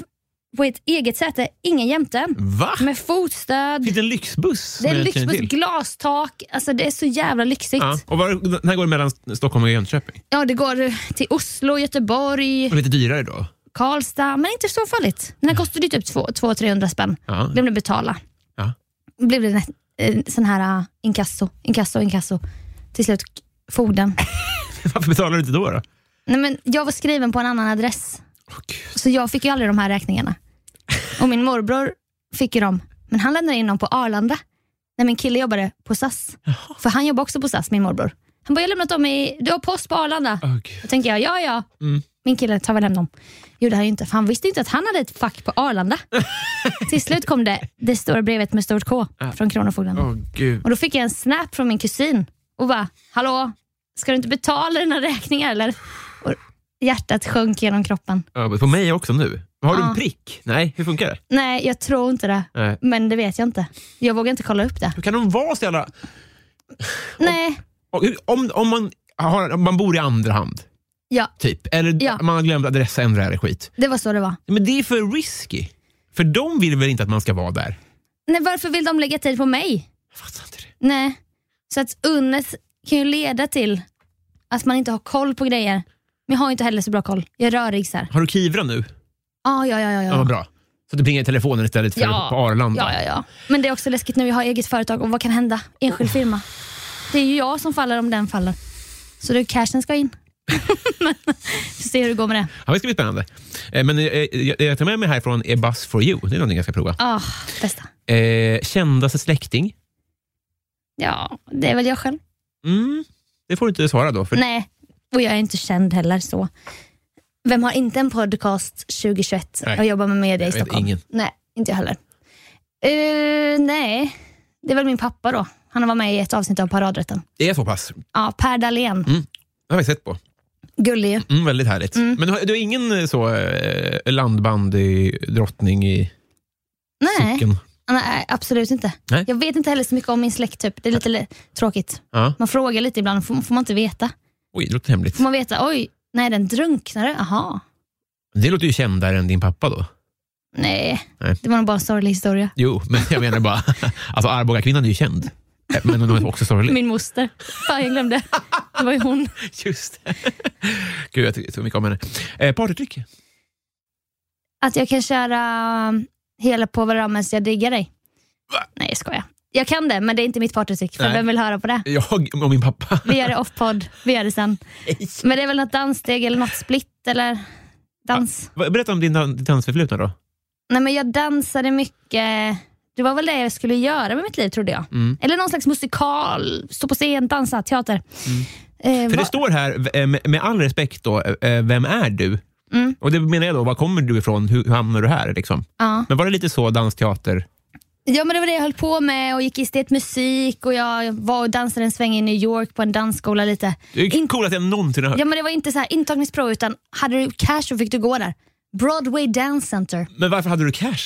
Speaker 2: på ett eget säte, ingen jämte.
Speaker 1: Va?
Speaker 2: Med fotstöd,
Speaker 1: Finns Mm. det en lyxbuss?
Speaker 2: det är
Speaker 1: som jag känner
Speaker 2: lyxbuss,
Speaker 1: till?
Speaker 2: glastak, alltså det är så jävla lyxigt.
Speaker 1: Ja. Och var, den här går mellan Stockholm och Jönköping.
Speaker 2: Ja, det går till Oslo, Göteborg,
Speaker 1: Och lite dyrare då?
Speaker 2: Karlstad, men inte så farligt. Den här kostade ju typ 200-300 spänn.
Speaker 1: Ja.
Speaker 2: Blev det betala.
Speaker 1: Ja.
Speaker 2: Blev det nä- eh, sån här uh, inkasso, inkasso, inkasso. Till slut k- fogden.
Speaker 1: <laughs> Varför betalar du inte då? då?
Speaker 2: Nej, men jag var skriven på en annan adress,
Speaker 1: Åh, Gud.
Speaker 2: så jag fick ju aldrig de här räkningarna. Och min morbror fick ju dem, men han lämnade in dem på Arlanda. När min kille jobbade på SAS. För han jobbade också på SAS, min morbror. Han bara, jag har lämnat dem i, du har post på Arlanda.
Speaker 1: Åh, Gud.
Speaker 2: Då tänker jag, ja ja, min kille tar väl hem dem. Gjorde han ju inte, för han visste ju inte att han hade ett fack på Arlanda. Till slut kom det, det stora brevet med stort K från Kronofogden.
Speaker 1: Åh, Gud.
Speaker 2: Och då fick jag en snap från min kusin och bara, hallå, ska du inte betala dina räkningar eller? Och hjärtat sjönk genom kroppen.
Speaker 1: Ja, men På mig också nu. Har du
Speaker 2: Ja.
Speaker 1: en prick? Nej, hur funkar det?
Speaker 2: Nej, jag tror inte det.
Speaker 1: Nej.
Speaker 2: Men det vet jag inte. Jag vågar inte kolla upp det.
Speaker 1: Hur kan de vara så jävla...
Speaker 2: Nej,
Speaker 1: Och hur- Om, om, man, har, om man bor i andra hand,
Speaker 2: ja,
Speaker 1: typ. Eller
Speaker 2: Ja.
Speaker 1: man har glömt adressändra eller skit.
Speaker 2: det var så det var.
Speaker 1: Men det är för risky. För de vill väl inte att man ska vara där?
Speaker 2: Nej, varför vill de lägga tid på mig?
Speaker 1: Jag fattar inte det.
Speaker 2: Nej, så att unnet kan ju leda till att man inte har koll på grejer. Men jag har ju inte heller så bra koll. Jag är rörig så här.
Speaker 1: Har du Kivra nu?
Speaker 2: Ah, ja, ja, ja.
Speaker 1: Ja, vad
Speaker 2: Ja.
Speaker 1: bra. Så du plingar i telefonen istället för på Arlanda?
Speaker 2: Ja, ja, ja. Men det är också läskigt nu. Jag har eget företag och vad kan hända? Enskild firma. Det är ju jag som faller om den faller. Så det är cashen ska in. <laughs> Får se hur det går med det.
Speaker 1: Ja, det ska bli spännande. Eh, Men eh, eh, det jag tar med mig härifrån är Buzz for you. Det är någonting jag ska prova.
Speaker 2: Ah, bästa.
Speaker 1: Eh, kändaste släkting?
Speaker 2: Ja, det är väl jag själv.
Speaker 1: Mm, det får du inte svara då. För
Speaker 2: Nej, och jag är inte känd heller så. Vem har inte en podcast 2021
Speaker 1: Nej.
Speaker 2: och jobbar med media i
Speaker 1: Jag vet
Speaker 2: Stockholm?
Speaker 1: ingen.
Speaker 2: Nej, inte jag heller. Eh, nej, det är väl min pappa då. Han var med i ett avsnitt av Paradrätten.
Speaker 1: Det är så pass. Det
Speaker 2: Ja, Per Dahlén.
Speaker 1: har jag sett på.
Speaker 2: Gullig ju.
Speaker 1: Mm, väldigt härligt. Men du har, du har ingen eh, så eh, landbandydrottning i
Speaker 2: Nej,
Speaker 1: socken?
Speaker 2: nej, absolut inte.
Speaker 1: Nej.
Speaker 2: Jag vet inte heller så mycket om min släkt. Typ. Det är lite le- tråkigt.
Speaker 1: Ja.
Speaker 2: Man frågar lite ibland, får, får man inte veta.
Speaker 1: Oj, det låter hemligt.
Speaker 2: Får man veta, oj, nej den drunknade, aha.
Speaker 1: Det låter ju kändare än din pappa då.
Speaker 2: Nej,
Speaker 1: Nej.
Speaker 2: det var nog bara en sorglig historia.
Speaker 1: Jo, men jag menar bara, alltså Arboga-kvinnan är ju känd. Eh, Men hon är också sorglig.
Speaker 2: Min moster. Fan, jag <laughs> glömde. Det var ju hon.
Speaker 1: Just det. Gud, jag tycker så mycket om henne. Eh, Partytrick?
Speaker 2: Att jag kan köra um, hela på varandra medan jag diggar dig.
Speaker 1: Va?
Speaker 2: Nej, jag skojar. Jag kan det, men det är inte mitt partytrick, för
Speaker 1: Nej.
Speaker 2: vem vill höra på det?
Speaker 1: Jag och min pappa.
Speaker 2: Vi gör det off-podd, vi gör det sen.
Speaker 1: Nej.
Speaker 2: Men det är väl något danssteg eller något split eller dans.
Speaker 1: Va- Berätta om din dan- ditt dansförflutna då.
Speaker 2: Nej men jag dansade mycket, det var väl det jag skulle göra med mitt liv trodde jag.
Speaker 1: Mm.
Speaker 2: Eller någon slags musikal, stå på scen, dansa, teater. Eh,
Speaker 1: Mm. För
Speaker 2: va-
Speaker 1: det står här, eh, med- med all respekt då, eh, vem är du?
Speaker 2: Mm.
Speaker 1: Och det menar jag då, var kommer du ifrån? Hur, hur hamnar du här? Liksom?
Speaker 2: ja.
Speaker 1: Men var det lite så dansteater?
Speaker 2: ja men det var det jag höll på med och gick estetmusik och jag var och dansade en sväng i New York på en dansskola lite.
Speaker 1: Det är ju coolt att jag någonsin har hört.
Speaker 2: Ja men det var inte så här intagningsprov utan hade du cash så fick du gå där. Broadway Dance Center.
Speaker 1: Men varför hade du cash?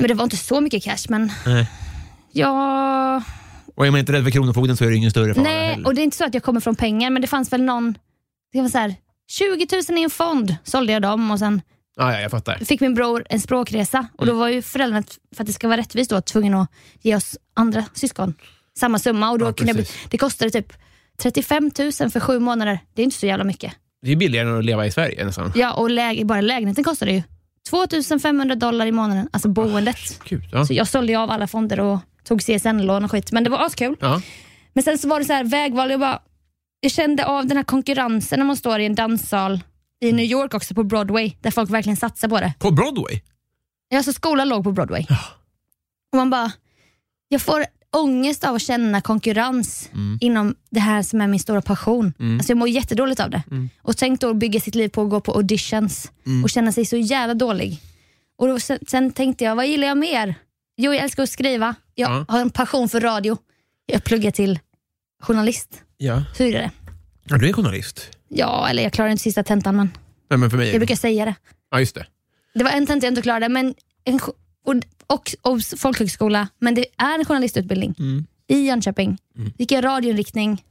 Speaker 2: Men det var inte så mycket cash, men...
Speaker 1: Nej.
Speaker 2: Ja...
Speaker 1: Och är man inte rädd för Kronofogden så är det ingen större fara
Speaker 2: Nej,
Speaker 1: heller.
Speaker 2: och det är inte så att jag kommer från pengar, men det fanns väl någon... Det var så här, 20 000 i en fond sålde jag dem och sen
Speaker 1: Ah, ja, jag fattar.
Speaker 2: fick min bror en språkresa och
Speaker 1: Mm.
Speaker 2: då var ju föräldrarna, för att det ska vara rättvist, då, tvungna att ge oss andra syskon samma summa. Och då
Speaker 1: Ja,
Speaker 2: kunde jag bli,
Speaker 1: precis.
Speaker 2: det kostade typ 35 000 för sju månader. Det är inte så jävla mycket.
Speaker 1: Det är billigare än att leva i Sverige nästan.
Speaker 2: Ja, och läge, bara lägenheten kostade ju 2 500 dollar i månaden, alltså boendet.
Speaker 1: Gud, ja.
Speaker 2: Så jag sålde ju av alla fonder och tog CSN-lån och skit, men det var askul.
Speaker 1: Ja.
Speaker 2: Men sen så var det så här vägval, jag bara jag kände av den här konkurrensen när man står i en danssal i New York också på Broadway, där folk verkligen satsar på det.
Speaker 1: På Broadway?
Speaker 2: Ja, så skolan låg på Broadway. Och man bara, jag får ångest av att känna konkurrens inom det här som är min stora passion. Alltså jag mår jättedåligt av det. Och tänk då att bygga sitt liv på att gå på auditions och känna sig så jävla dålig. Och då, sen, sen tänkte jag, vad gillar jag mer? Jo, jag älskar att skriva. Jag
Speaker 1: Ja.
Speaker 2: har en passion för radio. Jag pluggar till journalist.
Speaker 1: Ja.
Speaker 2: Så är det.
Speaker 1: ja. Du är journalist.
Speaker 2: Ja, eller jag klarar inte sista tentan, men
Speaker 1: Nej, men för mig
Speaker 2: jag
Speaker 1: är det...
Speaker 2: brukar säga det.
Speaker 1: Ja, just det.
Speaker 2: Det var en tenta jag inte klarade, men en, jo- och, och, och folkhögskola, men det är en journalistutbildning i Jönköping. Gick jag radioinriktning,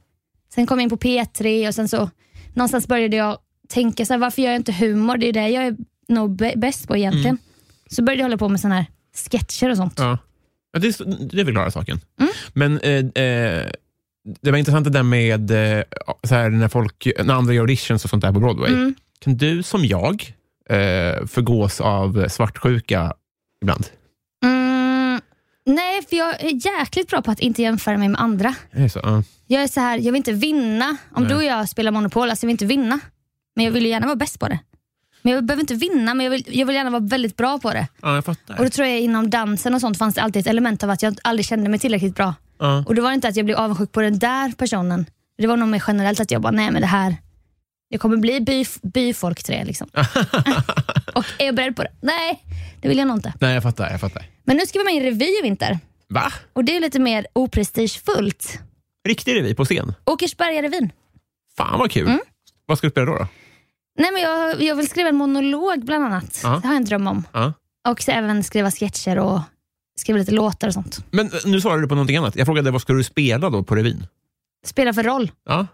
Speaker 2: sen kom jag in på P3 och sen så någonstans började jag tänka, så här, varför gör jag inte humor? Det är det jag är nog bä- bäst på egentligen. Så började jag hålla på med såna här sketcher och sånt.
Speaker 1: Ja. Ja, det, det förklarar saken.
Speaker 2: Mm.
Speaker 1: Men eh, eh, det var intressant det där med eh, så här, när, folk, när andra gör auditions och sånt där på Broadway.
Speaker 2: Mm.
Speaker 1: Kan du som jag eh, förgås av svartsjuka ibland?
Speaker 2: Mm, nej, för jag är jäkligt bra på att inte jämföra mig med andra.
Speaker 1: Är det så? Ja.
Speaker 2: Jag är så här, jag vill inte vinna. Om
Speaker 1: Nej.
Speaker 2: du och jag spelar Monopol, alltså jag vill inte vinna. Men jag vill ju gärna vara bäst på det. Men jag behöver inte vinna, men jag vill, jag vill gärna vara väldigt bra på det.
Speaker 1: ja, jag fattar.
Speaker 2: Och då tror jag inom dansen och sånt fanns det alltid ett element av att jag aldrig kände mig tillräckligt bra.
Speaker 1: ja.
Speaker 2: Och då var det inte att jag blev avundsjuk på den där personen. Det var nog mer generellt att jag bara, nej men det här, jag kommer bli by, byfolk till
Speaker 1: <laughs>
Speaker 2: det liksom. och är jag beredd på det? Nej, det vill jag nog inte.
Speaker 1: Nej, jag fattar. Jag fattar.
Speaker 2: Men nu ska vi vara med i en revy i vinter.
Speaker 1: Va?
Speaker 2: Och det är lite mer oprestigefullt.
Speaker 1: Riktig revy på scen?
Speaker 2: Åkersbergarevyn.
Speaker 1: Fan vad kul.
Speaker 2: Mm.
Speaker 1: Vad ska du spela då? då?
Speaker 2: Nej, men jag, jag vill skriva en monolog bland annat.
Speaker 1: Ja.
Speaker 2: Det har jag en dröm om.
Speaker 1: Ja.
Speaker 2: Och så även skriva sketcher och skriva lite låtar och sånt.
Speaker 1: Men eh, nu svarade du på någonting annat. Jag frågade vad ska du spela då på revyn?
Speaker 2: Spela för roll.
Speaker 1: Ja.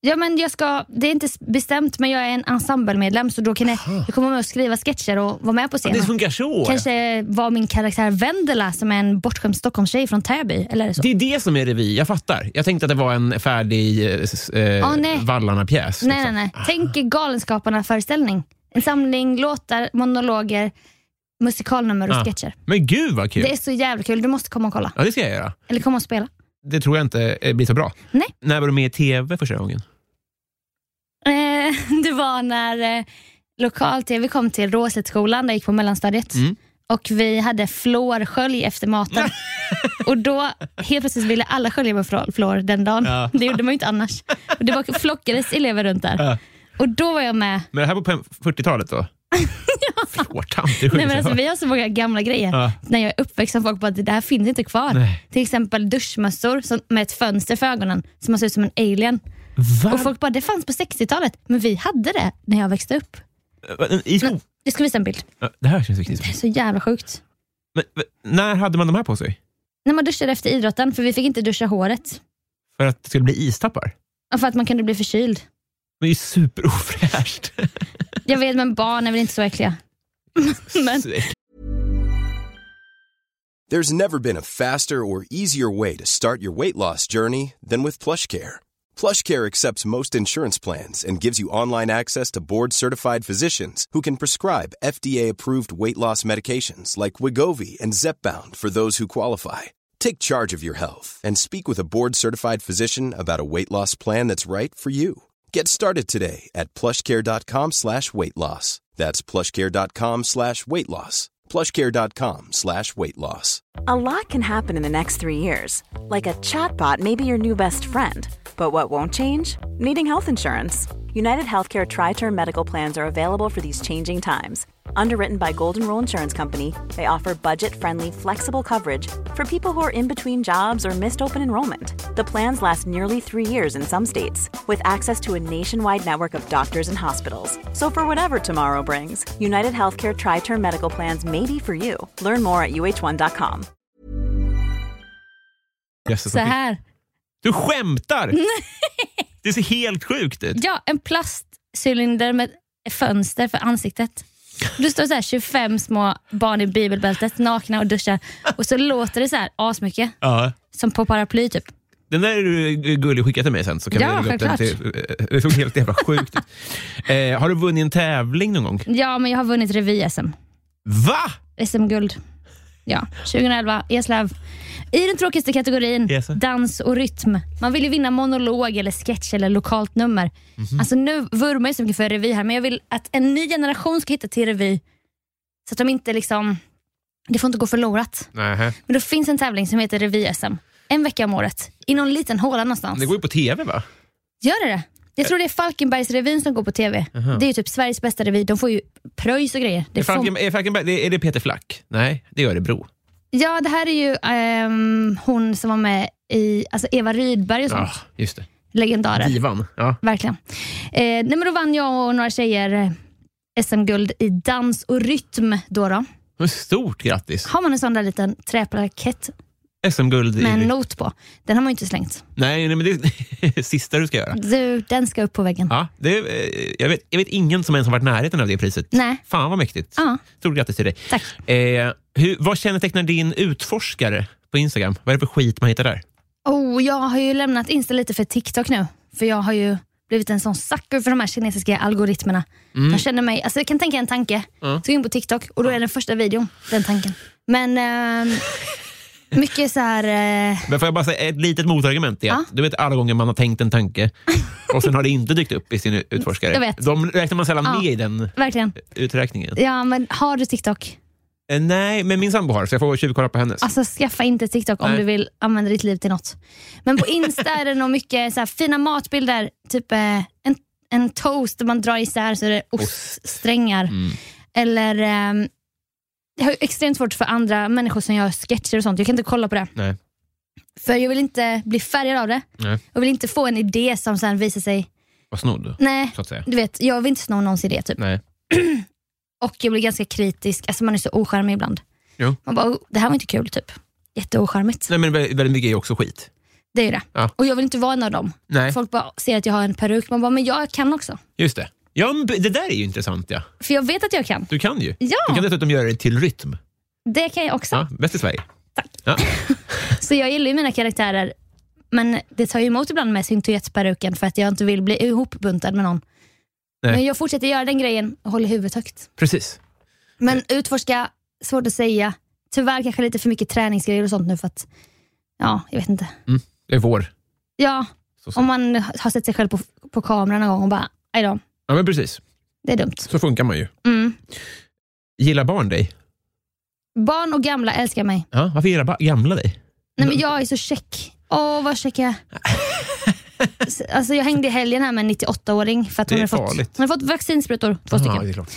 Speaker 2: Ja, men jag ska, det är inte s- bestämt, men jag är en ensemblemedlem så då kan jag, jag komma med och skriva sketcher och vara med på
Speaker 1: Det
Speaker 2: scenen.
Speaker 1: funkar så. ja.
Speaker 2: Kanske vara min karaktär Vendela som är en bortskämd Stockholmstjej från Täby. Eller så.
Speaker 1: Det är det som är revy, jag fattar. Jag tänkte att det var en färdig eh, s- eh,
Speaker 2: Åh, nej.
Speaker 1: Vallarna-pjäs.
Speaker 2: nej, nej,
Speaker 1: liksom.
Speaker 2: nej. Tänk er Galenskaparna-föreställning. En samling låtar, monologer, musikalnummer och
Speaker 1: Ah.
Speaker 2: sketcher.
Speaker 1: Men gud vad kul!
Speaker 2: Det är så jävla kul. Du måste komma och kolla.
Speaker 1: Ja, det ska jag göra.
Speaker 2: Eller komma och spela.
Speaker 1: Det tror jag inte eh, blir så bra.
Speaker 2: Nej.
Speaker 1: När var du med i TV första gången?
Speaker 2: Eh, <laughs> Det var när eh, lokal-tv kom till Råslättsskolan där jag gick på mellanstadiet.
Speaker 1: Mm.
Speaker 2: Och vi hade flårskölj
Speaker 1: <laughs>
Speaker 2: efter maten. och då helt plötsligt ville alla skölja med flå- flår den dagen.
Speaker 1: Ja.
Speaker 2: Det gjorde man ju inte annars. Och det var, flockades elever runt där.
Speaker 1: Ja.
Speaker 2: Och då var jag med.
Speaker 1: Men det här var på 40-talet
Speaker 2: <laughs>
Speaker 1: då? Flårtant, det är
Speaker 2: Nej,
Speaker 1: sjukt.
Speaker 2: men alltså, vi har så många gamla grejer.
Speaker 1: Ja.
Speaker 2: När jag är uppväxt som folk bara, det här finns inte kvar.
Speaker 1: Nej.
Speaker 2: Till exempel duschmössor som, med ett fönster för ögonen som man ser ut som en alien.
Speaker 1: Va?
Speaker 2: Och folk bara, det fanns på 60-talet. Men vi hade det när jag växte upp.
Speaker 1: I sko...
Speaker 2: Jag ska visa en bild.
Speaker 1: Ja, Det här känns viktigt.
Speaker 2: Det är <clears throat> så jävla sjukt.
Speaker 1: Men, men, när hade man de här på sig?
Speaker 2: När man duschade efter idrotten, för vi fick inte duscha håret.
Speaker 1: För att det skulle bli istappar?
Speaker 2: Och För att man kunde bli förkyld.
Speaker 1: Det är ju superofräscht.
Speaker 2: Jag vet, men barn är väl inte så äckliga. <laughs> Men-
Speaker 3: There's never been a faster or easier way to start your weight loss journey than with PlushCare. PlushCare accepts most insurance plans and gives you online access to board-certified physicians who can prescribe FDA-approved weight loss medications like Wigovi and Zepbound for those who qualify. Take charge of your health and speak with a board-certified physician about a weight loss plan that's right for you. Get started today at plushcare.com slash weight loss. That's plushcare.com slash weight loss. plushcare.com slash weight loss.
Speaker 4: A lot can happen in the next three years. Like a chatbot may be your new best friend. But what won't change? Needing health insurance. United Healthcare Tri Term Medical Plans are available for these changing times. Underwritten by Golden Rule Insurance Company, they offer budget-friendly, flexible coverage for people who are in between jobs or missed open enrollment. The plans last nearly three years in some states, with access to a nationwide network of doctors and hospitals. So for whatever tomorrow brings, United Healthcare Tri-Term Medical Plans may be for you. Learn more at uh1.com.
Speaker 1: Jösses,
Speaker 2: Så här.
Speaker 1: Du
Speaker 2: <laughs>
Speaker 1: skämtar! det ser helt sjukt ut.
Speaker 2: Ja, en plastcylinder med ett fönster för ansiktet. Du står så här 25 små barn i bibelbältet, nakna och duschar. Och så låter det så här asmycket,
Speaker 1: Ja.
Speaker 2: som på paraply typ.
Speaker 1: Den där är du eh, gullig skicka till mig sen. Så kan
Speaker 2: Ja,
Speaker 1: vi lägga upp den
Speaker 2: självklart.
Speaker 1: till, eh, det såg helt jävla
Speaker 2: <laughs>
Speaker 1: sjukt ut. Eh, har du vunnit en tävling någon gång?
Speaker 2: Ja, men jag har vunnit revy-SM.
Speaker 1: Va?
Speaker 2: SM-guld. Ja, 2011, Eslöv. I den tråkigaste kategorin,
Speaker 1: Yes.
Speaker 2: dans och rytm. Man vill ju vinna monolog, eller sketch eller lokalt nummer.
Speaker 1: Mhm.
Speaker 2: Alltså Nu vurmar jag så mycket för revy här, men jag vill att en ny generation ska hitta till revy. Så att de inte liksom... Det får inte gå förlorat.
Speaker 1: Nähä.
Speaker 2: Men då finns en tävling som heter revy-SM. En vecka om året, i någon liten håla någonstans.
Speaker 1: Det går ju på tv va?
Speaker 2: Gör det det? Jag tror det är Falkenbergsrevyn som går på TV. Det är ju typ Sveriges bästa revy. De får ju pröjs och grejer. Det
Speaker 1: Är,
Speaker 2: får-
Speaker 1: Falken, är, Falkenberg, det- är det Peter Flack? Nej, det är Örebro.
Speaker 2: Ja, det här är ju ehm, hon som var med i alltså Eva Rydberg och sånt.
Speaker 1: Ja, just det.
Speaker 2: Legendarer.
Speaker 1: Divan. Ja.
Speaker 2: Verkligen. Eh, nej, men då vann jag och några tjejer eh, SM-guld i dans och rytm. Då då.
Speaker 1: Men Stort grattis.
Speaker 2: Har man en sån där liten träplakett
Speaker 1: SM-guld. i-
Speaker 2: med en not på. Den har man ju inte slängt.
Speaker 1: Nej, nej, men det är <laughs> sista du ska göra.
Speaker 2: Du, den ska upp på väggen.
Speaker 1: Ja, det, eh, jag, vet, jag vet ingen som ens har varit i närheten av det priset.
Speaker 2: Nej.
Speaker 1: Fan vad mäktigt.
Speaker 2: Ja.
Speaker 1: Stort grattis till dig.
Speaker 2: Tack.
Speaker 1: Eh, hur, vad kännetecknar din utforskare på Instagram? Vad är det för skit man hittar där?
Speaker 2: Oh, jag har ju lämnat Insta lite för TikTok nu. För jag har ju blivit en sån sucker för de här kinesiska algoritmerna. Jag känner mig, alltså jag kan tänka en tanke, så går jag in på TikTok och då är den första videon den tanken. Men ehm, mycket så här, eh,
Speaker 1: Men får jag bara säga ett litet motargument? Är att, Du vet alla gånger man har tänkt en
Speaker 2: <laughs>
Speaker 1: tanke och sen har det inte dykt upp i sin utforskare.
Speaker 2: Jag vet.
Speaker 1: De räknar man sällan
Speaker 2: Ja.
Speaker 1: med i den
Speaker 2: verkligen.
Speaker 1: uträkningen.
Speaker 2: Ja men har du TikTok?
Speaker 1: Eh, nej, men min sambo har så jag får tjuvkolla på hennes.
Speaker 2: Alltså skaffa inte TikTok om
Speaker 1: Nej.
Speaker 2: du vill använda ditt liv till något. Men på Insta är det nog mycket så här, fina matbilder, typ eh, en, en toast där man drar isär så är det oststrängar.
Speaker 1: Mm.
Speaker 2: Eller, ehm, jag har ju extremt svårt för andra människor som gör sketcher och sånt. Jag kan inte kolla på det.
Speaker 1: Nej.
Speaker 2: För jag vill inte bli färgad av det.
Speaker 1: Nej.
Speaker 2: Jag vill inte få en idé som sen visar sig...
Speaker 1: Vad snodd,
Speaker 2: Nej,
Speaker 1: så att säga.
Speaker 2: Mm. du vet, jag vill inte sno någons idé typ.
Speaker 1: Nej.
Speaker 2: Och jag blir ganska kritisk. Alltså man är så ocharmig ibland.
Speaker 1: Jo.
Speaker 2: Man bara, "Oh, det här var inte kul typ. Jätteocharmigt.
Speaker 1: nej, men vä- väldigt mycket är ju också skit.
Speaker 2: Det är ju det.
Speaker 1: Ja.
Speaker 2: Och jag vill inte vara en av dem.
Speaker 1: Nej,
Speaker 2: Folk bara ser att jag har en peruk. Man bara, men jag kan också.
Speaker 1: just det. Ja, men det där är ju intressant. ja.
Speaker 2: För jag vet att jag kan.
Speaker 1: Du kan ju. Du
Speaker 2: Ja,
Speaker 1: kan dessutom göra det till rytm.
Speaker 2: det kan jag också.
Speaker 1: Ja, bäst i Sverige. Tack.
Speaker 2: Så jag gillar ju mina karaktärer. Men det tar ju emot ibland med syntetperuken för att jag inte vill bli ihopbuntad med någon.
Speaker 1: Nej.
Speaker 2: Men jag fortsätter göra den grejen och håller huvudet högt.
Speaker 1: Precis.
Speaker 2: Men utforska, svårt att säga. Tyvärr kanske lite för mycket träningsgrejer och sånt nu för att, ja, jag vet inte.
Speaker 1: Det är vår.
Speaker 2: Ja,
Speaker 1: Så, så.
Speaker 2: om man har sett sig själv på, på kameran någon gång och bara, "Aj då,
Speaker 1: Ja, men precis.
Speaker 2: det är dumt.
Speaker 1: Så funkar man ju.
Speaker 2: Mm.
Speaker 1: Gillar barn dig?
Speaker 2: Barn och gamla älskar mig.
Speaker 1: Ja, varför gillar ba- gamla dig?
Speaker 2: Nej, men jag är så check. Åh, vad
Speaker 1: <laughs>
Speaker 2: check jag är. S- Alltså, jag hängde i helgen här med en 98-åring för att
Speaker 1: Det
Speaker 2: hon
Speaker 1: är
Speaker 2: hade fått,
Speaker 1: farligt.
Speaker 2: hon hade fått vaccinsprutor. Två stycken.
Speaker 1: Ja, det är klart.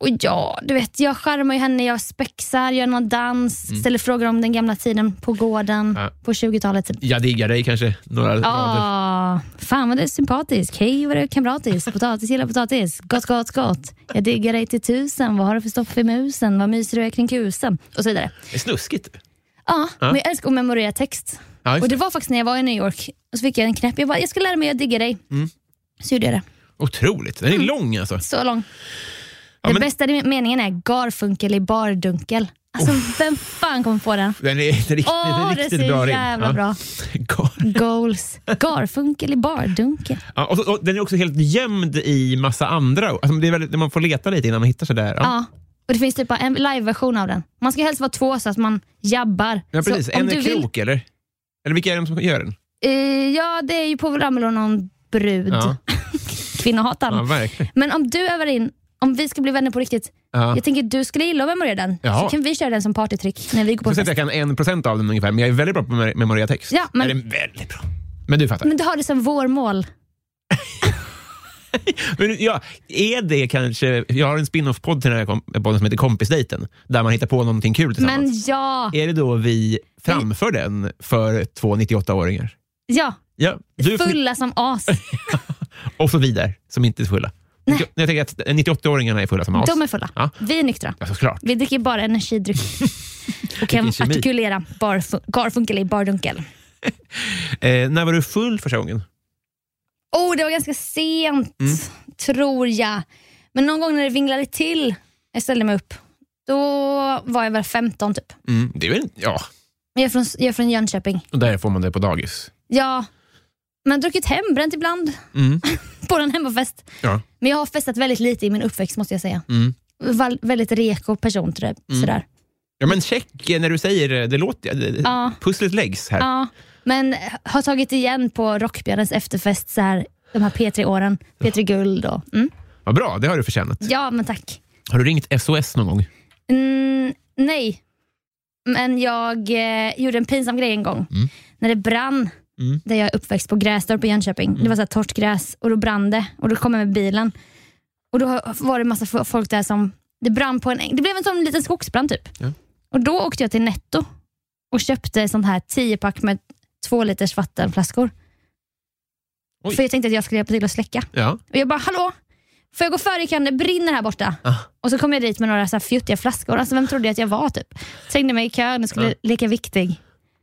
Speaker 2: Och ja, du vet, jag charmar ju henne, jag spexar, gör någon dans, ställer frågor om den gamla tiden på gården
Speaker 1: Mm. Ja.
Speaker 2: på 20-talet. Typ.
Speaker 1: Jag diggar dig kanske. Några rader.
Speaker 2: Ah, fan vad du är sympatisk. Hej vad du är kamratisk. Potatis gillar potatis. Gott, gott, gott. Jag diggar dig till tusen. Vad har du för stoff i musen? Vad myser du är kring kusen? Och så vidare.
Speaker 1: Det är snuskigt.
Speaker 2: Ja, men jag älskar att memorera text.
Speaker 1: Ja, just
Speaker 2: Och
Speaker 1: det.
Speaker 2: det var faktiskt när jag var i New York. Och så fick jag en knäpp. Jag bara, jag ska lära mig att digga dig.
Speaker 1: Mm.
Speaker 2: Så gjorde jag det. Mm.
Speaker 1: Otroligt. Den är lång alltså.
Speaker 2: Så lång.
Speaker 1: Ja,
Speaker 2: den
Speaker 1: men-
Speaker 2: bästa meningen är Garfunkel i bardunkel. Alltså vem fan kommer
Speaker 1: <laughs>
Speaker 2: på den?
Speaker 1: Den är, den Oh. är riktigt,
Speaker 2: Åh,
Speaker 1: den är
Speaker 2: det
Speaker 1: riktigt
Speaker 2: ser
Speaker 1: bra rim.
Speaker 2: jävla
Speaker 1: Ja. <laughs>
Speaker 2: bra.
Speaker 1: Gal-
Speaker 2: Goals. Garfunkel i bardunkel.
Speaker 1: Ja, och så, och den är också helt gömd i massa andra. Alltså, det är väldigt, man får leta lite innan man hittar sådär.
Speaker 2: Ja.
Speaker 1: Ja.
Speaker 2: Och det finns typ bara en live-version av den. Man ska helst vara två så att man jabbar.
Speaker 1: Ja, precis.
Speaker 2: Så om
Speaker 1: en
Speaker 2: du
Speaker 1: är
Speaker 2: vill-
Speaker 1: krok, eller? Eller vilka är de som gör den?
Speaker 2: Eh, ja, det är ju på Ramel och någon brud. <laughs>
Speaker 1: Ja.
Speaker 2: Kvinnohataren.
Speaker 1: Ja,
Speaker 2: <laughs>
Speaker 1: verkligen.
Speaker 2: Men om du övar in, om vi ska bli vänner på riktigt,
Speaker 1: Ja.
Speaker 2: Jag tänker att du skulle gilla att memorera den.
Speaker 1: Ja.
Speaker 2: Så kan vi köra den som partytrick när vi går på
Speaker 1: Jag, att
Speaker 2: fest.
Speaker 1: jag kan en procent av den ungefär, men jag är väldigt bra på att memorera text.
Speaker 2: Ja, men- Mm.
Speaker 1: Eller väldigt bra. Men du fattar.
Speaker 2: Men du har det som vår mål.
Speaker 1: Men ja, är det kanske... Jag har en spin-off-podd till den här kom- podden som heter Kompisdejten, där man hittar på någonting kul
Speaker 2: Men
Speaker 1: tillsammans.
Speaker 2: ja,
Speaker 1: Är det då vi framför den för två 98-åringar?
Speaker 2: ja.
Speaker 1: Ja, du
Speaker 2: Fulla som
Speaker 1: <laughs>
Speaker 2: as.
Speaker 1: och så vi där, som inte är fulla. Nej. Jag tänker att 98-åringarna är fulla som as.
Speaker 2: De är fulla.
Speaker 1: Ja.
Speaker 2: Vi är nyktra.
Speaker 1: Ja, såklart.
Speaker 2: Vi dricker
Speaker 1: <laughs>
Speaker 2: bara energidryck och kan
Speaker 1: Vilken kemi.
Speaker 2: artikulera barf- Garfunkel i bardunkel.
Speaker 1: Eh, när var du full första gången?
Speaker 2: Oh, det var ganska sent,
Speaker 1: Mm.
Speaker 2: tror jag. Men någon gång när det vinglade till, jag ställde mig upp, då var jag väl 15 typ.
Speaker 1: Mm, det är väl, ja,
Speaker 2: Men Jag är från, jag är från Jönköping.
Speaker 1: och där får man det på dagis.
Speaker 2: Ja, men jag har druckit hembränt ibland
Speaker 1: Mm.
Speaker 2: <laughs> på en hemmafest.
Speaker 1: Ja.
Speaker 2: Men jag har festat väldigt lite i min uppväxt måste jag säga.
Speaker 1: Mm.
Speaker 2: Val- väldigt reko person tror jag, sådär.
Speaker 1: Ja, men check eh, när du säger det. det låter, det-
Speaker 2: Ja.
Speaker 1: Pusslet läggs här.
Speaker 2: Ja, men har tagit igen på Rockbjörnens efterfest så här, de här P3-åren. P3 Guld och... Mm.
Speaker 1: Vad bra, det har du förtjänat.
Speaker 2: Ja, men tack.
Speaker 1: Har du ringt SOS någon gång?
Speaker 2: Mm, nej, men jag eh, gjorde en pinsam grej en gång.
Speaker 1: Mm.
Speaker 2: När det brann, där jag är uppväxt på Grästorp i Jönköping.
Speaker 1: Mm.
Speaker 2: Det var så här torrt gräs och då brann det och då kom jag med bilen. Och då var det massa fo- folk där som... Det brann på en äng. Det blev en sån liten skogsbrand typ.
Speaker 1: Ja.
Speaker 2: Och då åkte jag till Netto och köpte sånt här 10-pack med två liters vattenflaskor.
Speaker 1: Oj.
Speaker 2: För jag tänkte att jag skulle hjälpa till att släcka.
Speaker 1: Ja.
Speaker 2: Och jag bara, hallå? Får jag gå före i kan det brinner här borta?
Speaker 1: Ah.
Speaker 2: Och så kom jag dit med några så här fjuttiga flaskor. Alltså vem trodde jag att jag var typ? Trängde mig i kön och skulle
Speaker 1: Ja.
Speaker 2: leka viktig.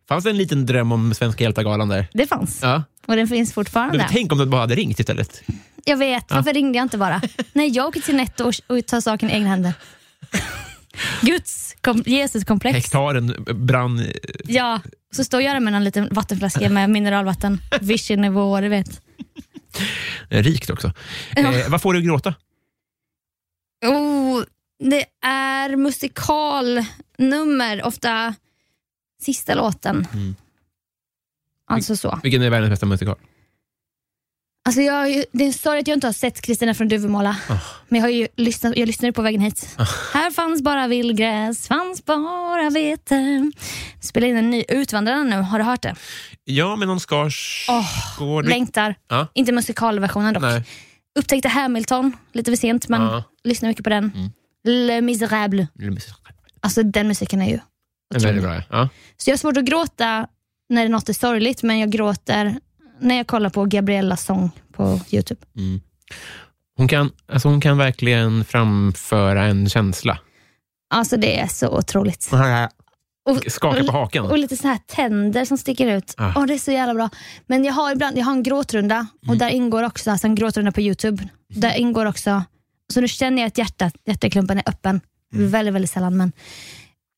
Speaker 1: Fanns det en liten dröm om Svenska hjältar-galan där?
Speaker 2: Det fanns.
Speaker 1: Ja.
Speaker 2: Och den finns fortfarande.
Speaker 1: Men tänk Ah. om du bara hade ringt istället.
Speaker 2: Jag vet, varför ringde jag inte bara? Nej, jag åker till Netto och, och tar saken i egna
Speaker 1: <laughs>
Speaker 2: händer. Guds kom, Jesus-komplex.
Speaker 1: Hektaren brann. eh,
Speaker 2: Ja, så står jag där med en liten vattenflaska med mineralvatten. Vichy-nivåer, du vet.
Speaker 1: eh, Rikt också.
Speaker 2: Ja.
Speaker 1: Eh, vad får du att gråta?
Speaker 2: Oh, det är musikalnummer, ofta sista låten.
Speaker 1: Mm.
Speaker 2: Alltså så.
Speaker 1: Vilken är världens bästa musikal?
Speaker 2: Alltså jag, har ju- det är en sorg att jag inte har sett Kristina från Duvemåla.
Speaker 1: Ah.
Speaker 2: Men jag, har ju lyssnat, jag lyssnade på vägen hit. Här fanns bara vildgräs, fanns bara vete. Spelar in en ny Utvandrarna nu, har du hört det?
Speaker 1: Ja, men någon Skarsgård.
Speaker 2: Längtar.
Speaker 1: Ja.
Speaker 2: Inte musikalversionen dock.
Speaker 1: Nej. Ah.
Speaker 2: Upptäckte Hamilton lite för sent, men
Speaker 1: Ja.
Speaker 2: lyssnar mycket på den.
Speaker 1: Mm.
Speaker 2: Le Miserable. Alltså den musiken är ju
Speaker 1: Den är väldigt bra. Ja.
Speaker 2: Så jag har svårt att gråta när något är sorgligt, men jag gråter när jag kollar på Gabriellas sång på Youtube.
Speaker 1: Hon, kan, alltså hon kan verkligen framföra en känsla.
Speaker 2: Alltså det är så otroligt. Och,
Speaker 1: Skaka på
Speaker 2: och
Speaker 1: hakan.
Speaker 2: lite så här tänder som sticker ut.
Speaker 1: Ah.
Speaker 2: Åh, det är så jävla bra. Men jag har ibland jag har en gråtrunda och där ingår också, alltså en gråtrunda på Youtube, där ingår också, så nu känner jag att hjärtat, hjärteklumpen är öppen. Väldigt, väldigt sällan. Men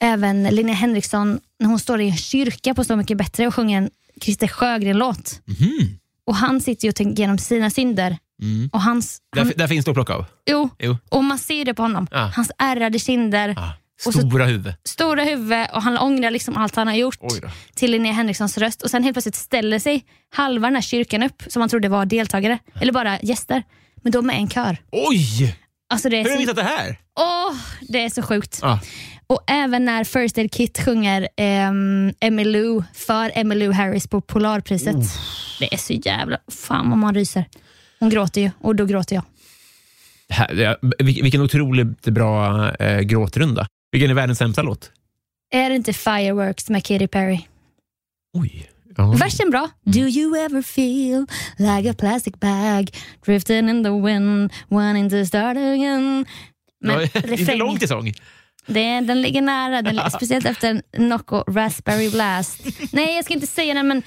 Speaker 2: även Linnea Henriksson, när hon står i en kyrka på Så mycket bättre och sjunger en Christer Sjögren-låt.
Speaker 1: Mhm.
Speaker 2: Och han sitter ju och tänker igenom sina synder.
Speaker 1: Mm.
Speaker 2: Och hans, han,
Speaker 1: Där, där finns det att plocka av.
Speaker 2: jo,
Speaker 1: Jo.
Speaker 2: och man ser ju det på honom.
Speaker 1: Ah.
Speaker 2: Hans ärrade kinder,
Speaker 1: Ah,
Speaker 2: Och så-
Speaker 1: Stora huvud.
Speaker 2: stora huvud och han ångrar liksom allt han har gjort
Speaker 1: Oj då.
Speaker 2: till Linnea Henrikssons röst. Och sen helt plötsligt ställer sig halva den här kyrkan upp som man trodde var deltagare, eller bara gäster. Men de är en kör.
Speaker 1: Oj!
Speaker 2: Alltså det, är
Speaker 1: Hur har du
Speaker 2: så,
Speaker 1: missat det här?
Speaker 2: åh, det är så sjukt.
Speaker 1: Ah.
Speaker 2: Och även när First Aid Kit sjunger ehm, Emmylou för Emmylou Harris på Polarpriset. Det är så jävla... Fan vad man ryser. Hon gråter ju och då gråter jag.
Speaker 1: Det här ja, vil- vilken otroligt bra eh, gråtrunda. Vilken är världens sämsta låt?
Speaker 2: Är det inte Fireworks med Katy Perry?
Speaker 1: Oj. Ja.
Speaker 2: Versen bra. Do you ever feel like a plastic bag drifting in the wind wanting to start again? Men
Speaker 1: Ja, inte
Speaker 2: refrängen,
Speaker 1: lång till sång.
Speaker 2: det, den ligger nära, den, speciellt efter Nocco Raspberry Blast. Nej, jag ska inte säga den, men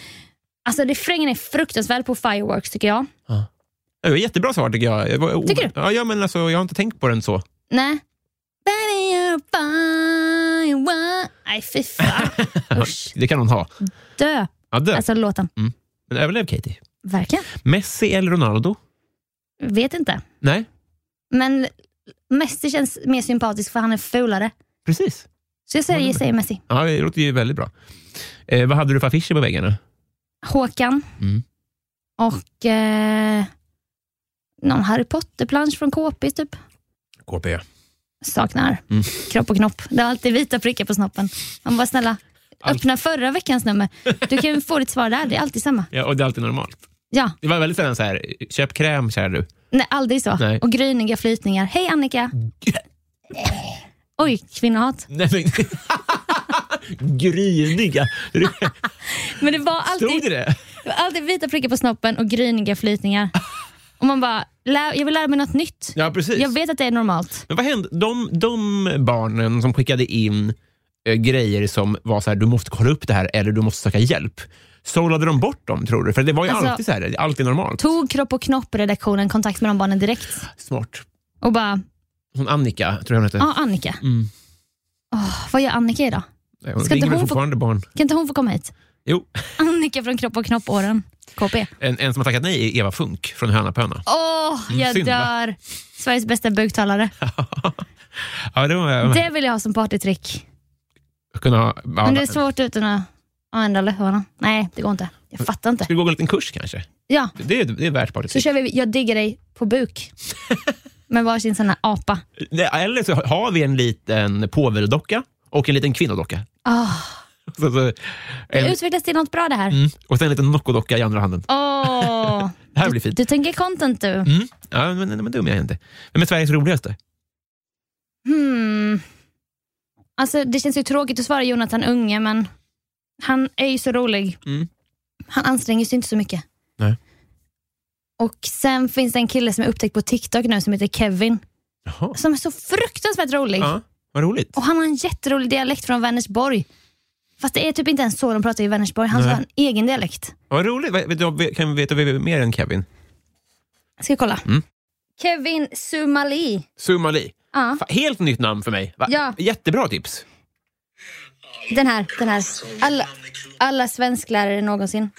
Speaker 2: alltså, refrängen är fruktansvärd på Fireworks tycker jag.
Speaker 1: Det var jättebra svar tycker jag. Det var o-
Speaker 2: Tycker du?
Speaker 1: Ja, ja, men alltså, jag har inte tänkt på den så.
Speaker 2: Nej. Baby you're firework. Nej, fy fan. Usch,
Speaker 1: Det kan hon ha.
Speaker 2: dö.
Speaker 1: Ja, dö.
Speaker 2: Alltså låten.
Speaker 1: Men överlev Katie.
Speaker 2: Verkligen.
Speaker 1: Messi eller Ronaldo?
Speaker 2: Vet inte.
Speaker 1: Nej,
Speaker 2: Men Messi känns mer sympatisk för han är fulare.
Speaker 1: precis.
Speaker 2: Så jag säger, säger Messi.
Speaker 1: Ja, det låter ju väldigt bra. Eh, vad hade du för affischer på väggarna?
Speaker 2: Håkan
Speaker 1: Mm.
Speaker 2: och eh, någon Harry Potter-plansch från KP typ.
Speaker 1: KP.
Speaker 2: Saknar
Speaker 1: Mm.
Speaker 2: kropp och knopp. Det är alltid vita prickar på snoppen. Man bara snälla,
Speaker 1: Allt.
Speaker 2: öppna förra veckans nummer. Du kan ju få ditt svar där, det är alltid samma.
Speaker 1: Ja, och det är alltid normalt.
Speaker 2: Ja,
Speaker 1: Det var väldigt sällan så här, köp kräm kära du.
Speaker 2: nej, aldrig så.
Speaker 1: Nej.
Speaker 2: Och gryniga flytningar. Hej Annika! Oj, kvinnohat.
Speaker 1: Nej, men... <laughs> Gryniga.
Speaker 2: Men det var
Speaker 1: Stod
Speaker 2: alltid,
Speaker 1: det det?
Speaker 2: det var alltid vita prickar på snoppen och gryniga flytningar. Och man bara, lär, jag vill lära mig något nytt.
Speaker 1: Ja, precis.
Speaker 2: Jag vet att det är normalt.
Speaker 1: Men vad hände? De, de barnen som skickade in eh, grejer som var så här, du måste kolla upp det här eller du måste söka hjälp. Sållade de bort dem, tror du? För det var ju
Speaker 2: Alltså-
Speaker 1: alltid så här, det är alltid normalt.
Speaker 2: Tog Kropp och Knopp-redaktionen kontakt med de barnen direkt
Speaker 1: Smart.
Speaker 2: och bara,
Speaker 1: Hon Annika, tror jag hon hette.
Speaker 2: ja Annika,
Speaker 1: Mm.
Speaker 2: Åh, vad gör Annika idag?
Speaker 1: Nej, Hon
Speaker 2: Ska inte
Speaker 1: ringer väl
Speaker 2: hon få-
Speaker 1: fortfarande barn.
Speaker 2: Kan inte hon få komma hit?
Speaker 1: Jo,
Speaker 2: Annika från Kropp och Knopp-åren, KP.
Speaker 1: en, en som har tackat nej är Eva Funk från Höna på Höna.
Speaker 2: Åh, jag
Speaker 1: Mm, synd, va?
Speaker 2: dör! Sveriges bästa buktalare.
Speaker 1: Ja, det var...
Speaker 2: Det vill jag ha som partytrick.
Speaker 1: Kunna, ha- ja,
Speaker 2: Men det är svårt utan att använda lövarna. Nej, det går inte. Jag fattar inte.
Speaker 1: Ska vi gå en liten kurs kanske?
Speaker 2: Ja,
Speaker 1: Det är, det är värt partyt.
Speaker 2: så kör vi Jag diggar dig på buk. Med varsin sån här apa.
Speaker 1: Nej, Eller så har vi en liten påveldocka och en liten kvinnodocka.
Speaker 2: Åh,
Speaker 1: Så, så,
Speaker 2: det
Speaker 1: en,
Speaker 2: utvecklas till något bra det här.
Speaker 1: mm, och sen en liten nockodocka i andra handen.
Speaker 2: Åh,
Speaker 1: <laughs> Det här blir fint.
Speaker 2: du tänker content du.
Speaker 1: Mm. Ja, men, men dum är jag inte. Vem är Sveriges roligaste?
Speaker 2: Hmm. Alltså, det känns ju tråkigt att svara Jonathan Unge, men han är ju så rolig.
Speaker 1: Mm.
Speaker 2: Han anstränger sig inte så mycket.
Speaker 1: Nej.
Speaker 2: Och Sen finns det en kille som är upptäckt på TikTok nu som heter Kevin,
Speaker 1: Jaha.
Speaker 2: som är så fruktansvärt rolig.
Speaker 1: Ja, vad roligt.
Speaker 2: Och Han har en jätterolig dialekt från Vänersborg. Fast det är typ inte ens så de pratar i Vänersborg. Han
Speaker 1: Nej.
Speaker 2: har en egen dialekt.
Speaker 1: Vad roligt. Vad- Vet du, kan vi veta mer än Kevin?
Speaker 2: Jag ska kolla.
Speaker 1: Mm.
Speaker 2: Kevin Sumali.
Speaker 1: Sumali.
Speaker 2: Ja,
Speaker 1: Fa- Helt nytt namn för mig. Va?
Speaker 2: Ja.
Speaker 1: Jättebra tips.
Speaker 2: den här. Den här. Alla, alla svensklärare någonsin.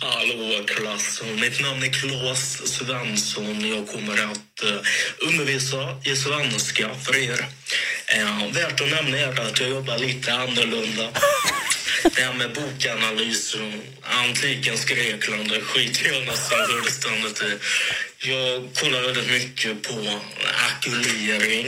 Speaker 5: Hallå klass, mitt namn är Claes Svensson. Jag kommer att eh, undervisa i svenska för er. Eh, värt att nämna är att jag jobbar lite annorlunda. Det här med bokanalys och antikens Grekland det skiter jag nästan fullständigt i. Jag kollar väldigt mycket på akulering,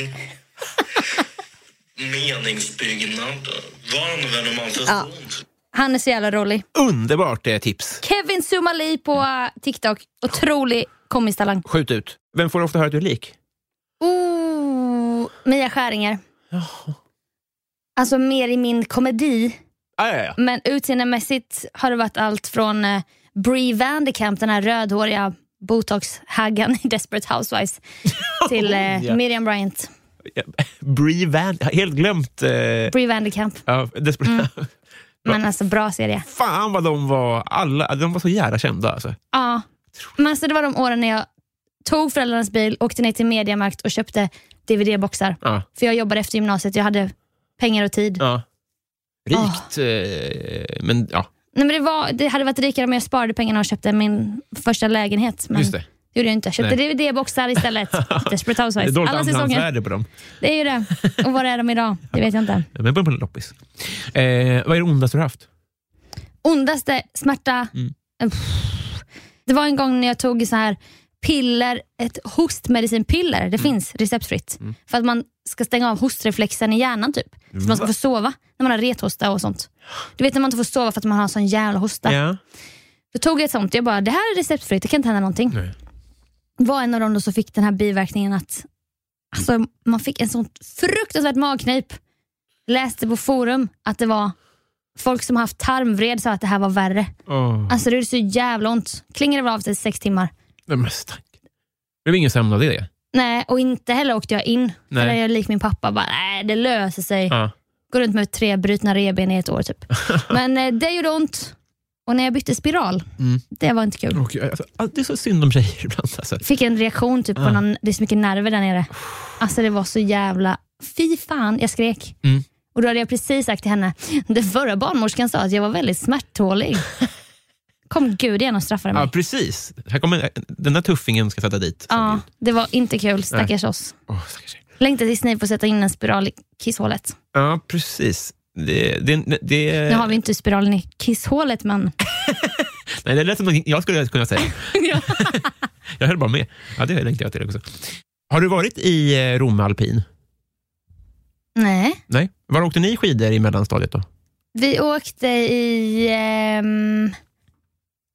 Speaker 5: meningsbyggnad. Vad använder man för
Speaker 2: Ja.
Speaker 5: sånt?
Speaker 2: Han är så jävla rolig.
Speaker 1: Underbart eh, tips.
Speaker 2: Kevin Sumali på eh, TikTok. Otrolig komisk talang.
Speaker 1: Skjut ut. Vem får ofta höra att du är lik?
Speaker 2: Oh, Mia Skäringer. Alltså mer i min komedi.
Speaker 1: Ah, ja, ja.
Speaker 2: Men utseendemässigt har det varit allt från eh, Brie Vanderkamp, den här rödhåriga botox-haggan i <laughs> Desperate Housewives, till
Speaker 1: <laughs>
Speaker 2: eh,
Speaker 1: Ja.
Speaker 2: Miriam Bryant.
Speaker 1: ja. Brie Van... jag har Helt glömt. Eh,
Speaker 2: Brie Vanderkamp.
Speaker 1: ja, desperat.
Speaker 2: Mm. Men alltså bra serie.
Speaker 1: <laughs> Fan vad de var alla, de var så jävla kända. Alltså.
Speaker 2: Ja. Men alltså, det var de åren när jag tog föräldrarnas bil, åkte ner till Mediamarkt och köpte DVD-boxar.
Speaker 1: Ja,
Speaker 2: För jag jobbade efter gymnasiet, jag hade pengar och tid.
Speaker 1: ja.
Speaker 2: Ah.
Speaker 1: Rikt, eh, men ja,
Speaker 2: Nej, men det, var, det hade varit rikare om jag sparade pengarna och köpte min första lägenhet. Men
Speaker 1: just det.
Speaker 2: det gjorde jag inte. Jag köpte
Speaker 1: <laughs>
Speaker 2: DVD-boxar istället. Desperate
Speaker 1: Det är
Speaker 2: Housewives.
Speaker 1: dåligt
Speaker 2: Alla säsonger.
Speaker 1: andrahandsvärde på dem.
Speaker 2: Det är ju det. Och var är de idag? Det vet jag inte.
Speaker 1: Men bara på en loppis. Eh, vad är det ondaste du har haft?
Speaker 2: Ondaste smärta.
Speaker 1: Mm.
Speaker 2: Pff. Det var en gång när jag tog så här piller, ett hostmedicinpiller.
Speaker 1: Mm.
Speaker 2: Det finns receptfritt. För att man ska stänga av hostreflexen i hjärnan typ.
Speaker 1: Mm.
Speaker 2: Så man ska få sova när man har rethosta och sånt. Du vet när man inte får sova för att man har sån jävla hosta.
Speaker 1: Ja.
Speaker 2: Då tog jag ett sånt. Jag bara, det här är receptfritt, det kan inte hända någonting.
Speaker 1: Nej.
Speaker 2: Var en av dem då som fick den här biverkningen att alltså, man fick en sån fruktansvärt magknip. Läste på forum att det var folk som haft tarmvred sa att det här var värre.
Speaker 1: Åh,
Speaker 2: Alltså det är så jävla ont. Klingade väl av sig i sex timmar.
Speaker 1: Nej, men stack. Det blev ingen sömn av det.
Speaker 2: Nej, och inte heller åkte jag in. För
Speaker 1: Nej.
Speaker 2: där är jag lik min pappa. Bara, nej, det löser sig.
Speaker 1: Ja.
Speaker 2: Går runt med tre brutna revben i ett
Speaker 1: <laughs>
Speaker 2: år typ. Men eh, det gjorde ont. Och när jag bytte spiral,
Speaker 1: Mm.
Speaker 2: det var inte kul.
Speaker 1: Och, alltså, det är så synd om tjejer ibland. Alltså.
Speaker 2: fick en reaktion typ på
Speaker 1: Ja.
Speaker 2: någon, det är så mycket nerver där nere. Alltså det var så jävla, fy fan, jag skrek.
Speaker 1: Mm.
Speaker 2: Och då hade jag precis sagt till henne, den förra barnmorskan sa att jag var väldigt smärttålig. Kom gud igen och straffade mig.
Speaker 1: Ja, precis. Här kommer, eh, den där tuffingen ska sätta dit.
Speaker 2: Ja, det var inte kul, stackars oss.
Speaker 1: Åh, stackars tjej.
Speaker 2: Längtar tills ni får sätta in en spiral i kisshålet.
Speaker 1: ja, precis. Det, det, det,
Speaker 2: Nu har vi inte spiralen i kisshålet, men
Speaker 1: nej, det lät som någonting jag skulle kunna säga.
Speaker 2: <laughs> Ja.
Speaker 1: <laughs> jag höll bara med. Ja, det längtade jag till också. Har du varit i eh, Romme alpin?
Speaker 2: nej.
Speaker 1: Nej. Var åkte ni skidor i mellanstadiet då?
Speaker 2: Vi åkte i ehm,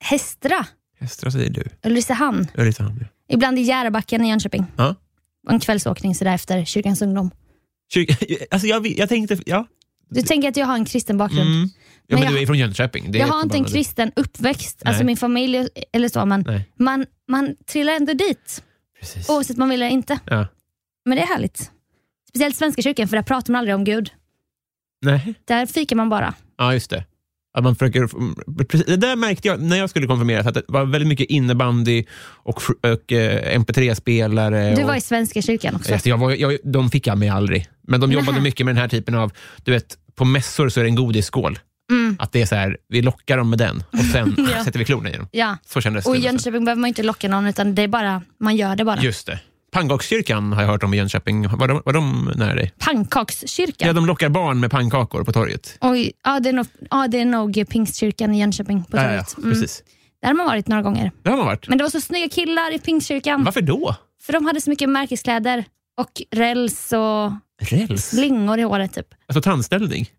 Speaker 2: Hästra.
Speaker 1: Hästra säger du.
Speaker 2: Ulricehamn.
Speaker 1: Ulricehamn, ja.
Speaker 2: Ibland i Järbacken i Jönköping.
Speaker 1: Ja.
Speaker 2: En kvällsåkning sådär efter kyrkans ungdom.
Speaker 1: Kyrka- <laughs> Alltså jag, jag tänkte... Ja.
Speaker 2: Du tänker att jag har en kristen bakgrund.
Speaker 1: Mm. Ja, men,
Speaker 2: Mm. Men
Speaker 1: du
Speaker 2: jag-
Speaker 1: är från Jönköping. Det
Speaker 2: Jag
Speaker 1: är
Speaker 2: har inte en
Speaker 1: förbannat.
Speaker 2: kristen uppväxt, alltså
Speaker 1: Nej.
Speaker 2: min familj eller så, men
Speaker 1: Nej,
Speaker 2: man, man trillar ändå dit
Speaker 1: precis.
Speaker 2: oavsett man vill eller inte.
Speaker 1: Ja.
Speaker 2: Men det är härligt. Speciellt Svenska kyrkan, för där pratar man aldrig om Gud.
Speaker 1: Nej.
Speaker 2: Där fikar man bara.
Speaker 1: Ja, just det. Att man försöker, precis, det där märkte jag när jag skulle konfirmeras, att det var väldigt mycket innebandy och, fr- och eh, mp3-spelare.
Speaker 2: Du
Speaker 1: och,
Speaker 2: var i Svenska kyrkan också.
Speaker 1: Alltså, jag var, jag, de fick jag mig aldrig. Men de jobbade
Speaker 2: Nähä.
Speaker 1: mycket med den här typen av... Du vet, på mässor så är det en godisskål.
Speaker 2: Mm.
Speaker 1: Att det är så här, vi lockar dem med den och sen
Speaker 2: <laughs> Ja.
Speaker 1: sätter vi klorna i dem.
Speaker 2: Ja.
Speaker 1: Så kändes
Speaker 2: Och i
Speaker 1: det.
Speaker 2: Jönköping behöver man inte locka någon, utan det är bara, man gör det bara.
Speaker 1: Just det. Pannkakskyrkan har jag hört om i Jönköping. Var de, var de nära dig? Ja.
Speaker 2: Pannkakskyrkan.
Speaker 1: de lockar barn med pannkakor på torget.
Speaker 2: Oj, ja, det är nog, ja, det är nog pingstkyrkan i Jönköping. På
Speaker 1: Ja, ja,
Speaker 2: torget.
Speaker 1: ja,
Speaker 2: Mm.
Speaker 1: precis.
Speaker 2: Där har man varit några gånger.
Speaker 1: Det har man varit.
Speaker 2: Men det var så snygga killar i pingstkyrkan.
Speaker 1: Varför då?
Speaker 2: För de hade så mycket märkeskläder och räls och
Speaker 1: Räls?
Speaker 2: slingor i håret. Typ.
Speaker 1: Alltså tandställning?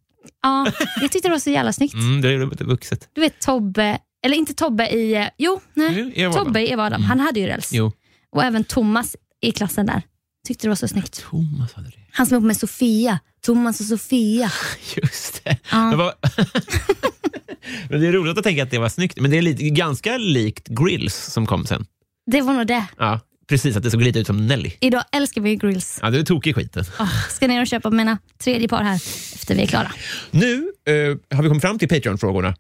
Speaker 2: Ja, jag tyckte det var så jävla snyggt.
Speaker 1: Mm, det är lite vuxet.
Speaker 2: Du vet Tobbe, eller inte Tobbe i... eh, Jo, nej.
Speaker 1: Jo, Eva
Speaker 2: Tobbe
Speaker 1: Adam.
Speaker 2: i Eva Adam. Han hade ju räls.
Speaker 1: Jo.
Speaker 2: Och även Thomas i klassen där. Tyckte det var så snyggt.
Speaker 1: Thomas hade det.
Speaker 2: Han som är ihop med Sofia. Thomas och Sofia.
Speaker 1: Just det.
Speaker 2: Ja.
Speaker 1: Men, vad... <laughs> men det är roligt att tänka att det var snyggt. Men det är lite, ganska likt Grills som kom sen.
Speaker 2: Det var nog det.
Speaker 1: Ja, precis, att det såg lite ut som Nelly.
Speaker 2: Idag älskar vi ju grills.
Speaker 1: Ja, du är tokig i skiten.
Speaker 2: Oh, ska ner och köpa mina tredje par här efter vi är klara.
Speaker 1: Nu eh, har vi kommit fram till Patreon-frågorna.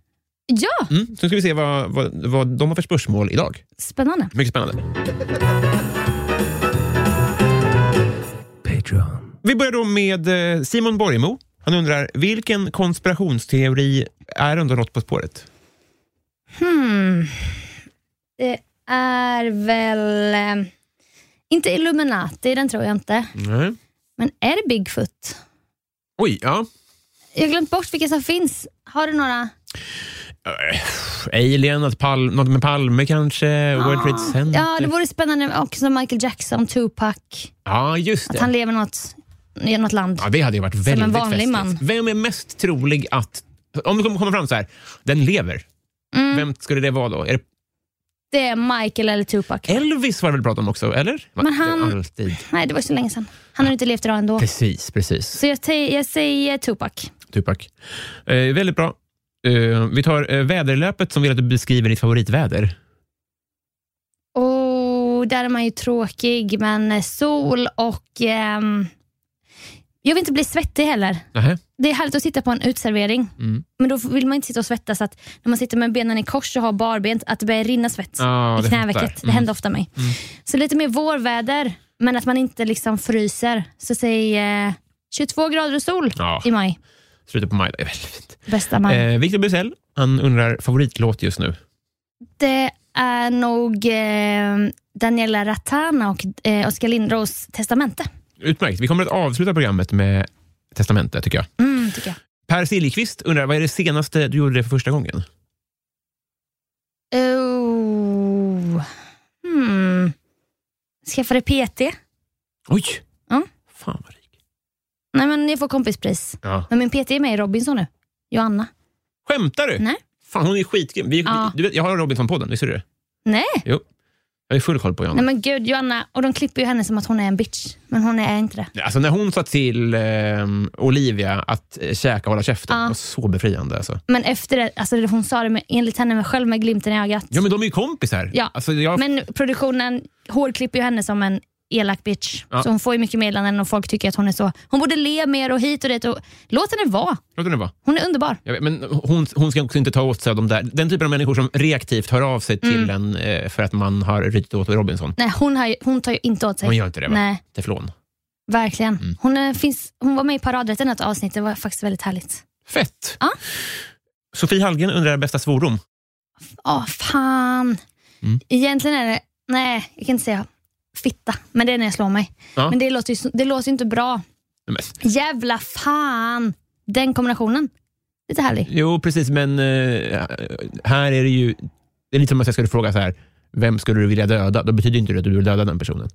Speaker 2: Ja,
Speaker 1: Mm, så nu ska vi se vad, vad, vad de har för spörsmål idag.
Speaker 2: spännande.
Speaker 1: Mycket spännande.
Speaker 6: Patreon.
Speaker 1: Vi börjar då med eh, Simon Borgemo. Han undrar, vilken konspirationsteori är ändå något på spåret?
Speaker 2: Hmm. Det är väl... eh, Inte Illuminati, den tror jag inte.
Speaker 1: Nej.
Speaker 2: Men är det Bigfoot?
Speaker 1: Oj, ja.
Speaker 2: Jag har glömt bort vilka som finns. Har du
Speaker 1: Mm,
Speaker 2: några?
Speaker 1: Alien, att pal- något med Palme kanske? World Trade Center?
Speaker 2: Ah. Ja, det vore spännande också Michael Jackson, Tupac.
Speaker 1: Ja, just
Speaker 2: Att
Speaker 1: det.
Speaker 2: han lever något, i något land.
Speaker 1: Ja, det hade ju varit väldigt
Speaker 2: en vanlig
Speaker 1: festligt.
Speaker 2: man.
Speaker 1: Vem är mest trolig att... Om det kommer fram så här, den lever.
Speaker 2: Mm.
Speaker 1: Vem skulle det vara då? Är det
Speaker 2: Det är Michael eller Tupac.
Speaker 1: Eh. Elvis var det väl prat om också, eller?
Speaker 2: Men han-
Speaker 1: Alltid.
Speaker 2: Nej, det var så länge sedan. Han har inte levt idag ändå.
Speaker 1: Precis, precis.
Speaker 2: Så jag, te- jag säger Tupac.
Speaker 1: Tupac. Eh, väldigt bra. Eh, vi tar eh, väderlöpet som vill att du beskriver ditt favoritväder.
Speaker 2: Och Oh, där är man ju tråkig, men eh, sol och... ehm, jag vill inte bli svettig heller.
Speaker 1: Nähä.
Speaker 2: Det är härligt att sitta på en uteservering,
Speaker 1: Mm.
Speaker 2: men då vill man inte sitta och svettas. Att när man sitter med benen i kors och har barbent, att det börjar rinna svett.
Speaker 1: Ja,
Speaker 2: i
Speaker 1: det
Speaker 2: knävecket.
Speaker 1: fattar.
Speaker 2: Det händer ofta mig.
Speaker 1: Mm.
Speaker 2: Så lite mer vårväder, men att man inte liksom fryser. Så säg eh, 22 grader och sol
Speaker 1: Ja,
Speaker 2: i maj.
Speaker 1: slutet på maj. Det är väldigt fint.
Speaker 2: Bästa maj.
Speaker 1: Eh, Victor Bysell, han undrar favoritlåt just nu.
Speaker 2: Det är nog eh, Daniela Ratana och eh, Oskar Lindros testamente.
Speaker 1: Utmärkt. Vi kommer att avsluta programmet med testamentet, tycker jag.
Speaker 2: Mm, tycker jag.
Speaker 1: Per Siljeqvist undrar, vad är det senaste du gjorde det för första gången?
Speaker 2: Oh. Hmm. Skaffade PT.
Speaker 1: Oj!
Speaker 2: Ja.
Speaker 1: Fan vad rik.
Speaker 2: Nej, men jag får kompispris.
Speaker 1: Ja.
Speaker 2: Men min PT är med i Robinson nu. Joanna.
Speaker 1: Skämtar du?
Speaker 2: Nej.
Speaker 1: Fan, hon är skitgrym. Vi,
Speaker 2: Ja.
Speaker 1: du vet, jag har Robinson-podden, visste du det?
Speaker 2: Nej.
Speaker 1: Jo. Jag är full koll på Johanna.
Speaker 2: Nej men gud, Joanna. Och de klipper ju henne som att hon är en bitch. Men hon är inte det.
Speaker 1: Alltså när hon sa till ehm, Olivia att eh, käka och hålla käften,
Speaker 2: Ja.
Speaker 1: det var så befriande. Alltså.
Speaker 2: Men efter det, alltså det hon sa det med, enligt henne med själv med glimten i ögat.
Speaker 1: Ja, men de är ju kompisar.
Speaker 2: Ja.
Speaker 1: Alltså, jag,
Speaker 2: Men produktionen hårklipper ju henne som en elak bitch.
Speaker 1: Ja.
Speaker 2: Så hon får ju mycket meddelanden och folk tycker att hon är så. Hon borde le mer och hit och dit. Och, låt henne vara.
Speaker 1: Låt henne vara.
Speaker 2: Hon är underbar.
Speaker 1: Jag vet, men hon, hon ska också inte ta åt sig av de där, den typen av människor som reaktivt hör av sig
Speaker 2: Mm.
Speaker 1: till en eh, för att man har rytit åt Robinson.
Speaker 2: Nej, hon, har ju, hon tar ju inte åt sig.
Speaker 1: Hon gör inte det, va? Mm.
Speaker 2: Nej,
Speaker 1: Teflon.
Speaker 2: verkligen. Hon, är, finns, hon var med i Paradrätten ett avsnitt. Det var faktiskt väldigt härligt.
Speaker 1: Fett!
Speaker 2: Ja.
Speaker 1: Sofie Hallgren undrar bästa svordom.
Speaker 2: Åh, fan.
Speaker 1: Mm.
Speaker 2: Egentligen är det... Nej, jag kan inte säga fitta, men det är när jag slår mig.
Speaker 1: Ja.
Speaker 2: Men det låter, ju, så- det låter ju inte bra.
Speaker 1: Nej, men-
Speaker 2: Jävla fan! Den kombinationen. Lite härlig.
Speaker 1: Jo, precis, men eh, här är det ju... Det är lite som att jag skulle fråga så här, vem skulle du vilja döda? Då betyder inte det att du vill döda den personen.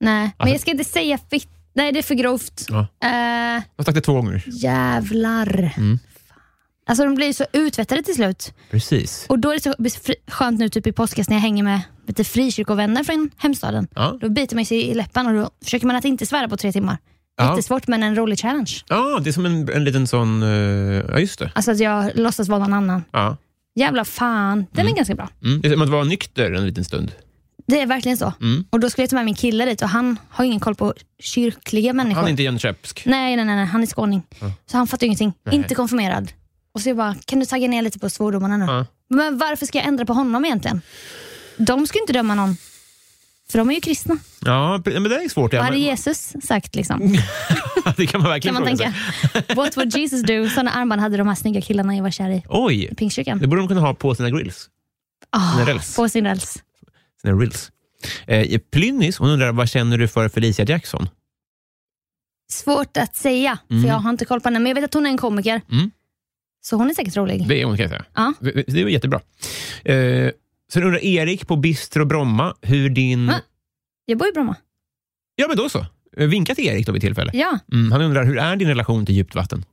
Speaker 2: Nej, men
Speaker 1: Alltså-
Speaker 2: jag ska inte säga fitta. Nej, det är för grovt.
Speaker 1: Ja.
Speaker 2: Eh,
Speaker 1: Jag har sagt det två gånger.
Speaker 2: jävlar.
Speaker 1: Mm.
Speaker 2: Fan. Alltså de blir ju så utvättade till slut.
Speaker 1: Precis.
Speaker 2: Och då är det så befri- skönt nu typ i påskas när jag hänger med lite frikyrkovänner från hemstaden.
Speaker 1: Ja.
Speaker 2: Då biter man sig i läppen och då försöker man att inte svära på tre timmar.
Speaker 1: Ja.
Speaker 2: Jättesvårt men en rolig challenge.
Speaker 1: Ja, det är som en, en liten sån... eh, ja, just det.
Speaker 2: Alltså att jag låtsas vara någon annan.
Speaker 1: Ja.
Speaker 2: Jävla fan, den är ganska bra.
Speaker 1: Mm. Det är som att vara nykter en liten stund.
Speaker 2: Det är verkligen så.
Speaker 1: Mm.
Speaker 2: Och Då skulle jag ta med min kille dit och han har ingen koll på kyrkliga människor.
Speaker 1: Han är inte jönköpsk.
Speaker 2: nej, nej, nej, nej, han är skåning. Så han fattar ju ingenting.
Speaker 1: Nej.
Speaker 2: Inte konfirmerad. Och så jag bara, kan du tagga ner lite på svordomarna nu?
Speaker 1: Ja.
Speaker 2: Men varför ska jag ändra på honom egentligen? De ska ju inte döma någon. För de är ju kristna.
Speaker 1: Ja, pre- men det är svårt.
Speaker 2: Vad
Speaker 1: Ja,
Speaker 2: hade
Speaker 1: men,
Speaker 2: Jesus sagt? liksom?
Speaker 1: <laughs> det kan man
Speaker 2: Kan
Speaker 1: verkligen
Speaker 2: man
Speaker 1: fråga
Speaker 2: tänka.
Speaker 1: sig.
Speaker 2: What would Jesus do? Sådana armband hade de här snygga killarna jag var kär i.
Speaker 1: Oj,
Speaker 2: I Pingstkyrkan.
Speaker 1: det borde de kunna ha på sina grills.
Speaker 2: Ah,
Speaker 1: räls.
Speaker 2: på sin räls.
Speaker 1: Sina reels. Eh, Plynnis hon undrar vad känner du för Felicia Jackson?
Speaker 2: Svårt att säga,
Speaker 1: Mm.
Speaker 2: för jag har inte koll på henne. Men jag vet att hon är en komiker.
Speaker 1: Mm.
Speaker 2: Så hon är säkert rolig.
Speaker 1: Det är hon kan jag säga.
Speaker 2: Ja.
Speaker 1: Det- Det det var jättebra. Eh, sen undrar Erik på Bistro Bromma hur din...
Speaker 2: Va? Jag bor i Bromma.
Speaker 1: Ja, men då så. Eh, Vinka till Erik då vid tillfälle.
Speaker 2: Ja.
Speaker 1: Mm, han undrar hur är din relation till djupt vatten?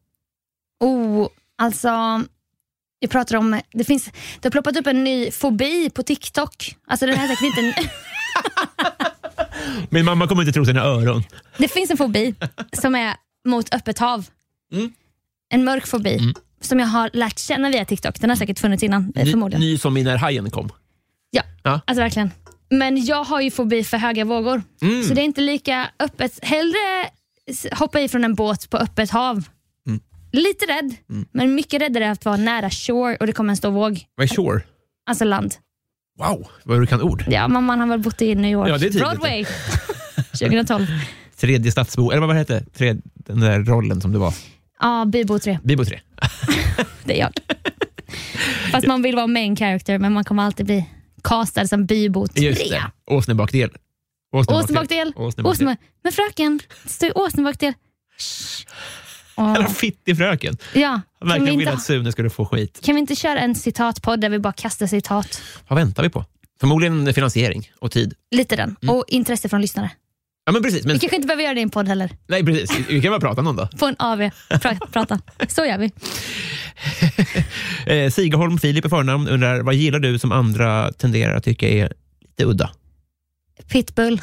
Speaker 2: Oh, alltså, jag pratar om, det, finns, det har ploppat upp en ny fobi på TikTok. Alltså den här är säkert inte, en- <laughs>
Speaker 1: Min mamma kommer inte tro sina öron.
Speaker 2: det finns en fobi som är mot öppet hav.
Speaker 1: Mm.
Speaker 2: En mörk fobi som jag har lärt känna via TikTok. Den har säkert funnits innan, eh, förmodligen.
Speaker 1: Ny, ny som i när hajen kom.
Speaker 2: Alltså verkligen. Men jag har ju fobi för höga vågor.
Speaker 1: Mm.
Speaker 2: Så det är inte lika öppet. Hellre s- hoppa ifrån en båt på öppet hav.
Speaker 1: Mm.
Speaker 2: Lite rädd, men mycket räddare att vara nära shore och det kommer en stor våg.
Speaker 1: Vad är Shore?
Speaker 2: Alltså land.
Speaker 1: Wow, vad du kan ord.
Speaker 2: Ja, mamman har väl bott i New York.
Speaker 1: Ja, det är tidigt.
Speaker 2: Broadway <laughs> 2012.
Speaker 1: Tredje stadsbo, eller vad hette det? Tredje, den där rollen som det var.
Speaker 2: Ja, Bybo 3.
Speaker 1: Bibo 3.
Speaker 2: Det är jag.
Speaker 1: <laughs>
Speaker 2: Fast man vill vara main character, men man kommer alltid bli castad som Bybo 3.
Speaker 1: Just det. Åsnebakdel.
Speaker 2: Alltså, Åsnebakdel.
Speaker 1: Åsnebakdel.
Speaker 2: Åsne- Men fröken, det står ju Åsnebakdel. Shh. Åh.
Speaker 1: Jävla fittig fröken.
Speaker 2: Ja,
Speaker 1: Han
Speaker 2: kan vi,
Speaker 1: Verkligen
Speaker 2: inte,
Speaker 1: ville att Sune skulle få skit.
Speaker 2: kan vi inte köra en citatpodd där vi bara kastar citat?
Speaker 1: Vad väntar vi på? Förmodligen finansiering och tid.
Speaker 2: Lite den.
Speaker 1: Mm.
Speaker 2: Och intresse från lyssnare.
Speaker 1: Ja, men precis. Men,
Speaker 2: Vi kanske inte behöver göra det i en podd heller.
Speaker 1: Nej, precis. Vi kan bara prata någon dag.
Speaker 2: På en AV.
Speaker 1: <laughs>
Speaker 2: Pra- prata. Så gör vi.
Speaker 1: Eh, Sigaholm Filip i förnamn undrar, vad gillar du som andra tenderar att tycka är lite udda?
Speaker 2: Pitbull,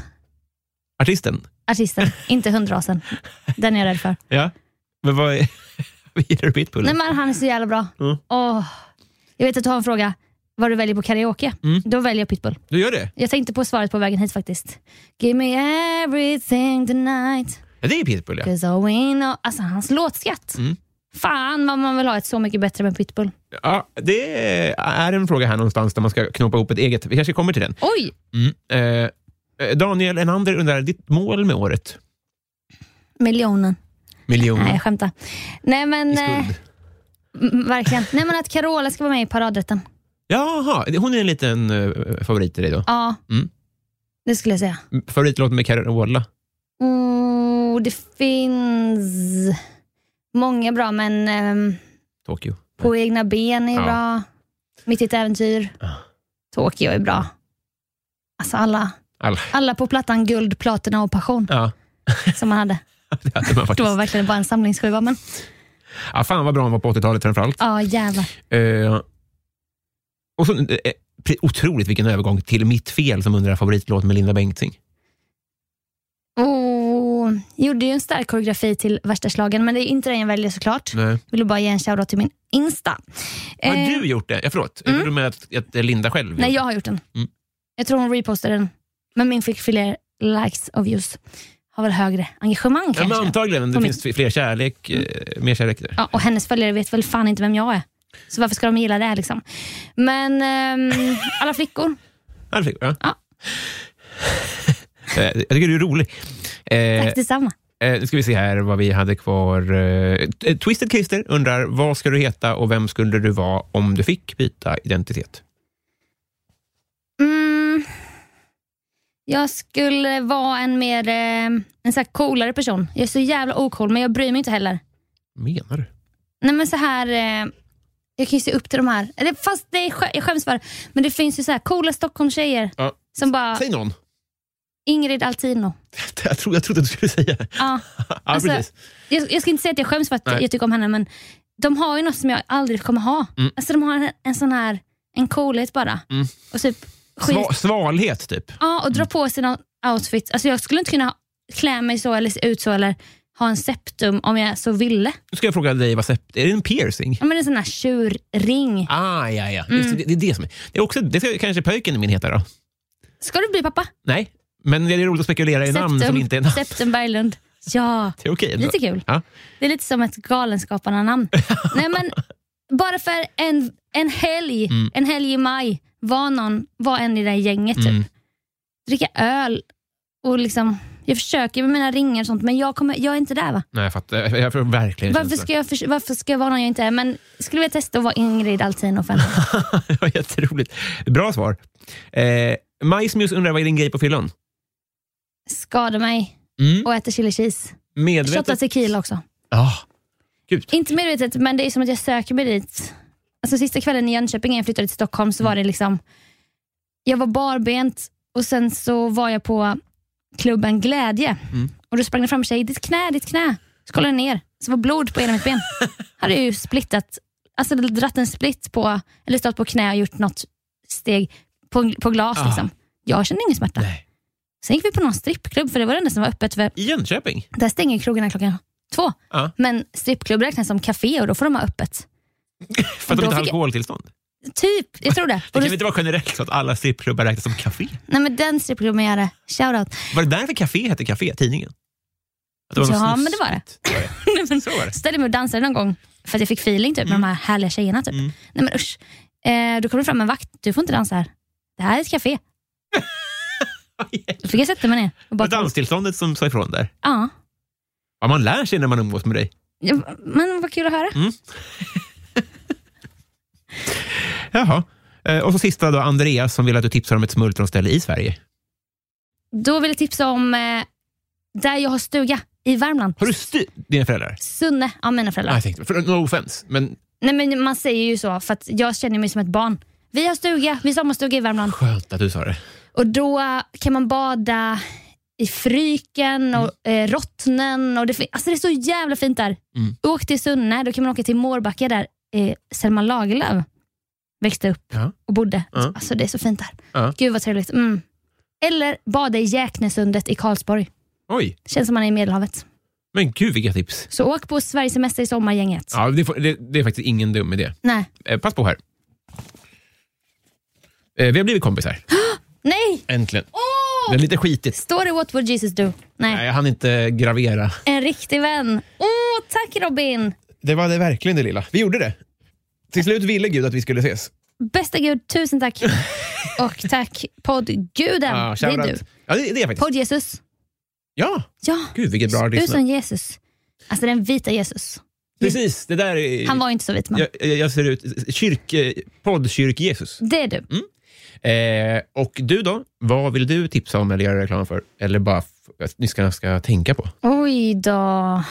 Speaker 1: Artisten?
Speaker 2: artisten. Inte hundrasen. Den är jag rädd för.
Speaker 1: Ja. Men vad, är, <laughs> vad gillar du Pitbull?
Speaker 2: Nej, men han är så jävla bra.
Speaker 1: Mm.
Speaker 2: Åh. Jag vet att du har en fråga. Vad du väljer på karaoke.
Speaker 1: Mm.
Speaker 2: Då väljer jag pitbull.
Speaker 1: Du gör det?
Speaker 2: Jag tänkte på svaret på vägen hit faktiskt. Give me everything tonight.
Speaker 1: Ja, det är Pitbull, ja.
Speaker 2: 'Cause I win Alltså hans låtskatt.
Speaker 1: Mm.
Speaker 2: Fan vad man vill ha ett Så mycket bättre än pitbull.
Speaker 1: ja. Det är en fråga här någonstans där man ska knopa ihop ett eget. Vi kanske kommer till den.
Speaker 2: Oj!
Speaker 1: Mm. Eh, Daniel Enander undrar, ditt mål med året?
Speaker 2: Miljonen. Nej,
Speaker 1: Miljoner
Speaker 2: jag skämtar. Nej, men,
Speaker 1: Mm. i
Speaker 2: eh,
Speaker 1: skuld.
Speaker 2: m- verkligen. Nej, men att Carola ska vara med i paradrätten.
Speaker 1: Jaha, hon är en liten eh, favorit till dig då.
Speaker 2: Ja,
Speaker 1: Mm.
Speaker 2: det skulle jag säga.
Speaker 1: Favoritlåt med Carola?
Speaker 2: Oh, det finns många bra, men ehm,
Speaker 1: Tokyo.
Speaker 2: På egna ben är
Speaker 1: Ja.
Speaker 2: bra. Mitt i ett äventyr.
Speaker 1: Ja.
Speaker 2: Tokyo är bra. Alltså alla,
Speaker 1: Alla.
Speaker 2: alla på plattan Guld, Platina och Passion
Speaker 1: Ja, <laughs>
Speaker 2: som man hade.
Speaker 1: det hade man
Speaker 2: Det var
Speaker 1: faktiskt.
Speaker 2: verkligen bara en samlingsskiva. Men
Speaker 1: Ja, fan vad bra han var på 80-talet framförallt.
Speaker 2: ja, jävlar.
Speaker 1: Eh, och så, eh, pre- otroligt vilken övergång till Mitt fel som undrar favoritlåt med Linda Bengtzing.
Speaker 2: Och gjorde ju en stark koreografi till värsta slagen men det är inte den jag väljer såklart.
Speaker 1: Nej.
Speaker 2: Vill bara ge en shoutout till min Insta.
Speaker 1: Har
Speaker 2: Eh,
Speaker 1: du gjort det? Ja, förlåt, jag trodde med att, att Linda själv gjorde
Speaker 2: Nej, jag
Speaker 1: det.
Speaker 2: har gjort den.
Speaker 1: Mm.
Speaker 2: Jag tror hon repostade den. Men min fick fler likes och views. Har väl högre engagemang
Speaker 1: Ja, men
Speaker 2: kanske.
Speaker 1: antagligen, det
Speaker 2: På
Speaker 1: finns fler kärlek, eh, mer kärlek där.
Speaker 2: Ja, och hennes följare vet väl fan inte vem jag är. Så varför ska de gilla det här liksom? Men ehm, alla flickor.
Speaker 1: Ja, det fick jag.
Speaker 2: Ja.
Speaker 1: <laughs> Eh, jag tycker du är rolig. Eh,
Speaker 2: Tack detsamma.
Speaker 1: Eh, nu ska vi se här vad vi hade kvar. Eh, T- eh, Twisted Christer undrar, vad ska du heta och vem skulle du vara om du fick byta identitet?
Speaker 2: Mm, jag skulle vara en mer ehm, en så här coolare person. Jag är så jävla ocool, men jag bryr mig inte heller.
Speaker 1: Menar du?
Speaker 2: Nej men så här... Eh, jag kan ju se upp till de här. Eller, fast det är, skö- jag skäms för det. Men det finns ju så här coola Stockholmstjejer
Speaker 1: Ja.
Speaker 2: som bara
Speaker 1: Säg någon. <laughs>
Speaker 2: Ingrid Altino.
Speaker 1: Jag, tro, jag trodde att du skulle säga <laughs> det.
Speaker 2: Ja.
Speaker 1: Ja,
Speaker 2: Alltså,
Speaker 1: precis.
Speaker 2: Jag, jag ska inte säga att jag skäms för att
Speaker 1: Nej.
Speaker 2: jag tycker om henne, men de har ju något som jag aldrig kommer ha.
Speaker 1: Mm.
Speaker 2: Alltså De har en, en sån här, en coolhet bara. Och typ skit.
Speaker 1: Sva, svalhet, typ.
Speaker 2: Ja, och dra på sig någon outfit. Alltså jag skulle inte kunna klä mig så eller se ut så eller ha en septum om jag så ville.
Speaker 1: Nu ska jag fråga dig, vad sept- är det en piercing?
Speaker 2: Ja, Mm. men en sån här tjurring.
Speaker 1: Ah, ja, ja. Just det, det är det som är. Det, är också, det ska kanske pöjken min heta då?
Speaker 2: Ska du bli pappa?
Speaker 1: Nej, men det är roligt att spekulera i namn som inte är namn.
Speaker 2: Septum Berglund. Ja,
Speaker 1: <laughs> Det är okej. ändå.
Speaker 2: lite kul.
Speaker 1: Ja.
Speaker 2: Det är lite som
Speaker 1: <laughs>
Speaker 2: ett Galenskaparna-namn. Nej, men bara för en, en helg,
Speaker 1: Mm.
Speaker 2: en helg i maj, var, någon, var en i det här gänget. Typ.
Speaker 1: Mm.
Speaker 2: Dricka öl och liksom, jag försöker med mina ringar och sånt, men jag, kommer, jag är inte där va?
Speaker 1: Nej, jag fattar. Jag- Jag får verkligen
Speaker 2: Varför
Speaker 1: känslan.
Speaker 2: ska, jag förs- varför ska jag vara någon jag inte är? Men skulle vilja testa att vara Ingrid Altino fem
Speaker 1: <laughs> Det var jätteroligt. Bra svar. Eh, Majsmus undrar, vad är din grej på fyllan?
Speaker 2: Skada mig
Speaker 1: Mm.
Speaker 2: och äta chili cheese. Shotta
Speaker 1: Medvetet? Ah,
Speaker 2: tequila också.
Speaker 1: Ja. Gud.
Speaker 2: Inte medvetet, men det är som att jag söker mig dit. Alltså sista kvällen i Jönköping innan jag flyttade till Stockholm så var det liksom, jag var barbent och sen så var jag på klubben Glädje
Speaker 1: Mm.
Speaker 2: och då sprang det fram en tjej, ditt knä, ditt knä. Så kollade jag ner, så var blod på ena
Speaker 1: <laughs>
Speaker 2: mitt ben. Hade jag ju splittat, alltså dratt en split på, eller stått på knä och gjort något steg på, på glas
Speaker 1: Ah.
Speaker 2: liksom. Jag kände ingen smärta.
Speaker 1: Nej.
Speaker 2: Sen gick vi på någon strippklubb för det var det enda som var öppet. För
Speaker 1: I Jönköping?
Speaker 2: där stänger krogarna klockan två.
Speaker 1: Ja.
Speaker 2: Men strippklubb räknas som café och då får de ha öppet.
Speaker 1: För att
Speaker 2: då
Speaker 1: de inte har
Speaker 2: fick jag-
Speaker 1: alkoholtillstånd?
Speaker 2: Typ, jag tror det.
Speaker 1: <laughs> Det
Speaker 2: Och
Speaker 1: kan
Speaker 2: då,
Speaker 1: väl inte vara generellt så att alla strippklubbar räknas som café?
Speaker 2: nej men den strippklubben jag hade, <laughs> shoutout.
Speaker 1: Var det därför café hette café, tidningen? Att det var något
Speaker 2: Ja,
Speaker 1: snuskigt?
Speaker 2: men det var det.
Speaker 1: Så var det. Så var det. Mm.
Speaker 2: Ställde mig och dansade någon gång för att jag fick feeling typ, med de här härliga tjejerna. Typ. Nej men usch. Eh, då kom det fram en vakt, du får inte dansa här. Det här är ett café. Då fick jag sätta mig ner. Och
Speaker 1: Var
Speaker 2: bara,
Speaker 1: danstillståndet som sa ifrån där?
Speaker 2: ja.
Speaker 1: Ja, man lär sig när man umgås med dig.
Speaker 2: Ja, Men vad kul att höra.
Speaker 1: Jaha. Eh, Och så sista då, Andreas som vill att du tipsar om ett smultronställe i Sverige.
Speaker 2: Då vill jag tipsa om eh, där jag har stuga i Värmland.
Speaker 1: Har du styrt dina föräldrar?
Speaker 2: Sunne, ja mina föräldrar.
Speaker 1: Nej, jag tänkte, för, no offense, men
Speaker 2: Nej men man säger ju så för att jag känner mig som ett barn. Vi har stuga, vi har sommarstuga i Värmland
Speaker 1: skönt att du sa det.
Speaker 2: och då eh, kan man bada i Fryken och eh, Rottnen. Och det, fin- alltså det är så jävla fint där.
Speaker 1: Mm.
Speaker 2: Åk till Sunne, då kan man åka till Mårbacka där eh, Selma Lagerlöf växte upp
Speaker 1: Ja.
Speaker 2: och bodde.
Speaker 1: Ja.
Speaker 2: Alltså det är så fint där.
Speaker 1: Ja.
Speaker 2: Gud vad trevligt. Mm. Eller bada i Jäknesundet i Karlsborg.
Speaker 1: Oj,
Speaker 2: Känns som man är i Medelhavet.
Speaker 1: men gud vilka tips.
Speaker 2: Så åk på Sverigesemester i sommar gänget.
Speaker 1: Ja, det, får- det, det är faktiskt ingen dum idé.
Speaker 2: Nej.
Speaker 1: Eh, pass på här. Eh, vi har blivit <gasps> kompisar.
Speaker 2: Nej!
Speaker 1: Äntligen. Det är lite skitigt.
Speaker 2: Står det What would Jesus do? Nej.
Speaker 1: Nej, jag hann inte gravera.
Speaker 2: En riktig vän. Åh, tack Robin!
Speaker 1: Det var det verkligen det lilla. Vi gjorde det. Till slut ville Gud att vi skulle ses.
Speaker 2: Bästa gud,
Speaker 1: <laughs>
Speaker 2: tusen tack. Och tack poddguden. det är
Speaker 1: Ah, shoutout.
Speaker 2: du.
Speaker 1: Ja, det, det är jag faktiskt.
Speaker 2: Podd-Jesus.
Speaker 1: Ja,
Speaker 2: Ja,
Speaker 1: gud vilket bra
Speaker 2: du
Speaker 1: lyssnare.
Speaker 2: som Jesus. Alltså den vita Jesus.
Speaker 1: Precis, det där är...
Speaker 2: Han var ju inte så vit man.
Speaker 1: jag, jag jag ser ut... Kyrk, eh, Poddkyrk-Jesus.
Speaker 2: Det är
Speaker 1: Mm.
Speaker 2: du.
Speaker 1: Eh, och du då? Vad vill du tipsa om eller göra reklam för? Eller bara f- att ni ska, ska tänka på?
Speaker 2: Oj då.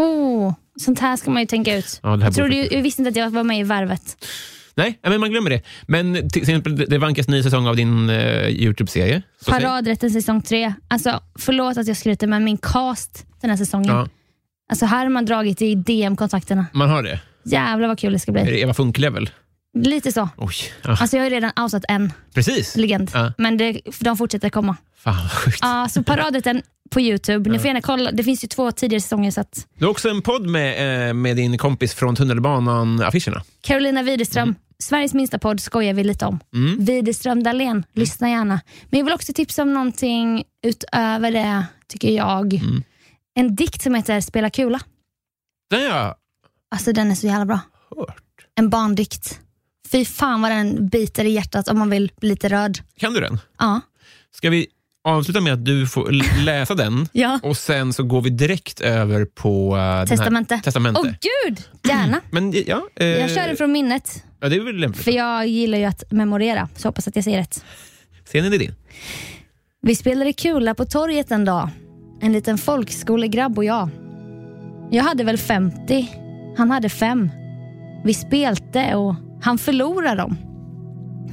Speaker 2: Oh, sånt här ska man ju tänka ut.
Speaker 1: Ja, det här
Speaker 2: jag, trodde
Speaker 1: borde-
Speaker 2: ju, jag visste inte att jag var med i Värvet.
Speaker 1: Nej, ja, men man glömmer det. Men till exempel, det- det vankas ny säsong av din eh, Youtube-serie. Så säg-
Speaker 2: Paradrätten säsong tre. Alltså, förlåt att jag skryter, men min cast den här säsongen.
Speaker 1: Ja,
Speaker 2: Alltså, här har man dragit i DM-kontakterna.
Speaker 1: man har det.
Speaker 2: Jävlar vad kul det ska
Speaker 1: Är
Speaker 2: bli.
Speaker 1: det Eva Funklevel?
Speaker 2: Lite så.
Speaker 1: Oj. Ja,
Speaker 2: Alltså jag har ju redan outat en
Speaker 1: precis.
Speaker 2: legend,
Speaker 1: Ja.
Speaker 2: men det, de fortsätter komma.
Speaker 1: Fan vad sjukt.
Speaker 2: Ja, så paradrätten på Youtube. Ni får gärna kolla. Det finns ju två tidigare säsonger. Så att
Speaker 1: Du har också en podd med, eh, med din kompis från tunnelbanan-affischerna.
Speaker 2: Carolina Widerström,
Speaker 1: Mm.
Speaker 2: Sveriges minsta podd, skojar vi lite om. Widerström Dahlén,
Speaker 1: Mm.
Speaker 2: lyssna gärna. Men jag vill också tipsa om någonting utöver det, tycker jag.
Speaker 1: Mm.
Speaker 2: En dikt som heter Spela kula.
Speaker 1: Den har jag
Speaker 2: Alltså den är så jävla bra.
Speaker 1: hört.
Speaker 2: En barndikt. Fy fan vad den biter i hjärtat om man vill bli lite röd.
Speaker 1: Kan du den?
Speaker 2: Ja.
Speaker 1: Ska vi avsluta med att du får l-
Speaker 2: <laughs>
Speaker 1: läsa den
Speaker 2: Ja.
Speaker 1: och sen så går vi direkt över på... eh, den här-
Speaker 2: Testamente.
Speaker 1: testamente.
Speaker 2: Åh gud, gärna.
Speaker 1: Men ja, eh,
Speaker 2: Jag kör den från minnet,
Speaker 1: ja, det är väl lämpligt.
Speaker 2: för jag gillar ju att memorera, så hoppas att jag säger rätt.
Speaker 1: Scenen är din.
Speaker 2: Vi spelade kula på torget en dag. En liten folkskolegrabb och jag. Jag hade väl 50, han hade fem. Vi spelte och han förlorade dem.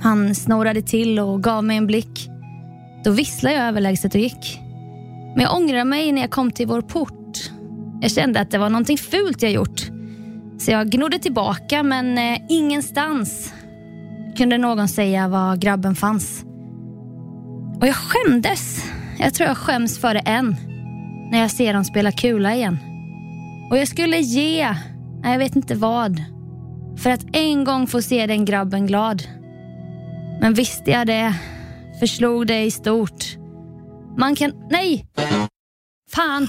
Speaker 2: Han snorade till och gav mig en blick. Då visslade jag överlägset och gick. Men jag ångrade mig när jag kom till vår port. Jag kände att det var någonting fult jag gjort. Så jag gnodde tillbaka men eh, ingenstans kunde någon säga var grabben fanns. Och jag skämdes. Jag tror jag skäms för det än. När jag ser dem spela kula igen. Och jag skulle ge, nej, jag vet inte vad. För att en gång få se den grabben glad. Men visste jag det, förslog det i stort. Man kan, nej! Fan!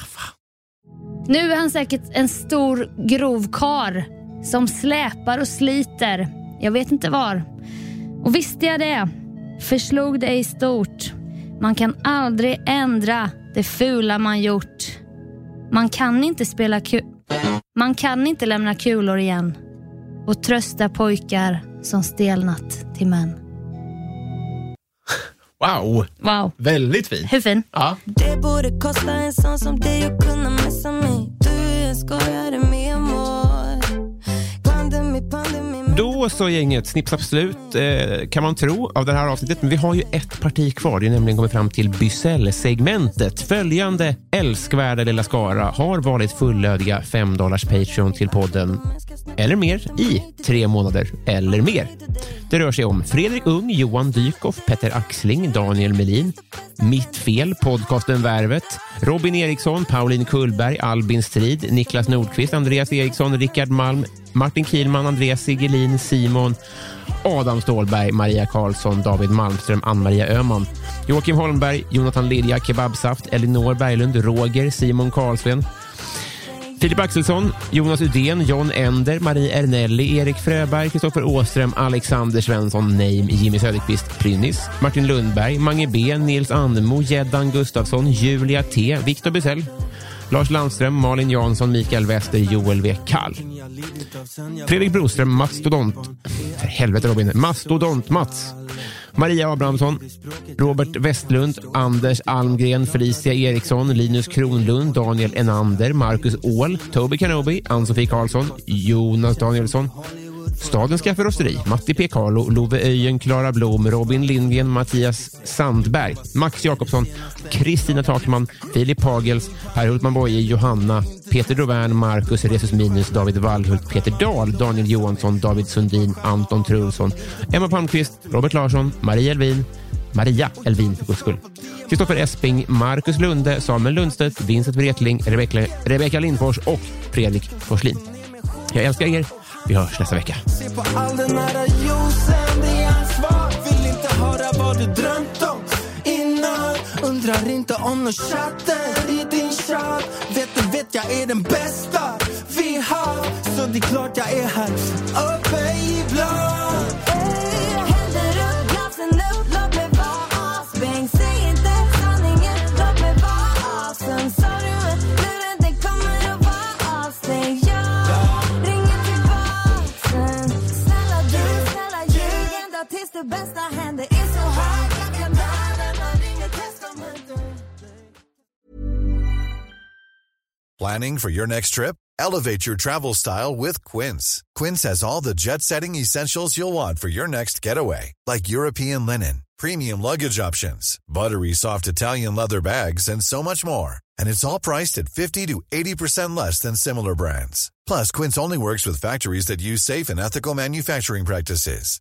Speaker 2: Nu är han säkert en stor grov kar som släpar och sliter. Jag vet inte var. Och visste jag det, förslog det i stort. Man kan aldrig ändra det fula man gjort. Man kan inte spela ku- Man kan inte lämna kulor igen och trösta pojkar som stelnat till män.
Speaker 7: Wow,
Speaker 2: Wow,
Speaker 7: väldigt fint.
Speaker 2: hur fin?
Speaker 7: Ja.
Speaker 5: Det borde kosta en sån som dig att kunna messa mig Du är en skojare med amor Pandemi, pandemi men-
Speaker 1: Då så gänget, Snipsapp slut eh, kan man tro av det här avsnittet. Men vi har ju ett parti kvar. Det är nämligen kommit fram till Bysell-segmentet. Följande älskvärda lilla skara har varit fullödiga 5 Patreon till podden eller mer i tre månader eller mer. Det rör sig om Fredrik Ung, Johan Dykhoff, Petter Axling, Daniel Melin, Mitt Fel, podcasten Värvet, Robin Eriksson, Pauline Kullberg, Albin Strid, Niklas Nordqvist, Andreas Eriksson, Rickard Malm, Martin Kielman, Andreas Sigelin, Simon, Adam Ståhlberg, Maria Karlsson, David Malmström, Ann-Maria Öhman, Joakim Holmberg, Jonathan Lilja, Kebabsaft, Elinor Berglund, Roger, Simon Karlsven, Filip Axelsson, Jonas Udén, John Ender, Marie Ernelli, Erik Fröberg, Kristoffer Åström, Alexander Svensson, Neim, Jimmy Söderqvist, Prynnis, Martin Lundberg, Mange B, Nils Andemo, Jeddan Gustafsson, Julia T, Viktor Bysell, Lars Landström, Malin Jansson, Mikael Wester, Joel W. Kall. Fredrik Broström, Mastodont... För helvete Robin. Mastodont-Mats. Maria Abrahamsson, Robert Westlund, Anders Almgren, Felicia Eriksson, Linus Kronlund, Daniel Enander, Marcus Åhl, Toby Kanobi, Ann-Sofie Karlsson, Jonas Danielsson, Stadens kafferosteri, Matti P. Carlo, Love Öjen, Klara Blom, Robin Lindgren, Mattias Sandberg, Max Jakobsson, Kristina Takman, Filip Hagels, Per Hultman Boye, Johanna, Peter Dovern, Marcus, Resus Minus, David Wallhult, Peter Dahl, Daniel Johansson, David Sundin, Anton Trulsson, Emma Palmqvist, Robert Larsson, Maria Elvin, Maria Elvin för guds skull. Kristoffer Esping, Marcus Lunde, Samuel Lundstedt, Vincent Wretling, Rebecka, Rebecka Lindfors och Fredrik Forslin. Jag älskar er. Vi hörs nästa vecka.
Speaker 5: Se på all den här juicen, det är ansvar Vill inte höra vad du drömt om innan Undrar inte om någon chatten i din chatt Vet du, vet jag är den bästa vi har Så det är klart jag är här uppe ibland Händer upp, glasen upp, låt mig vara asbäng Säg inte sanningen, låt mig vara as Sen sa du att luren den kommer att vara avstängd Jag ringer tillbaks sen Snälla du, snälla ljug ända tills det bästa händer Är så hög, jag kan dö när man ringer testamentet
Speaker 3: Planning for your next trip? Elevate your travel style with Quince. Quince has all the jet setting essentials you'll want for your next getaway, like European linen, premium luggage options, buttery soft Italian leather bags, and so much more. And it's all priced at 50 to 80% less than similar brands. Plus, Quince only works with factories that use safe and ethical manufacturing practices.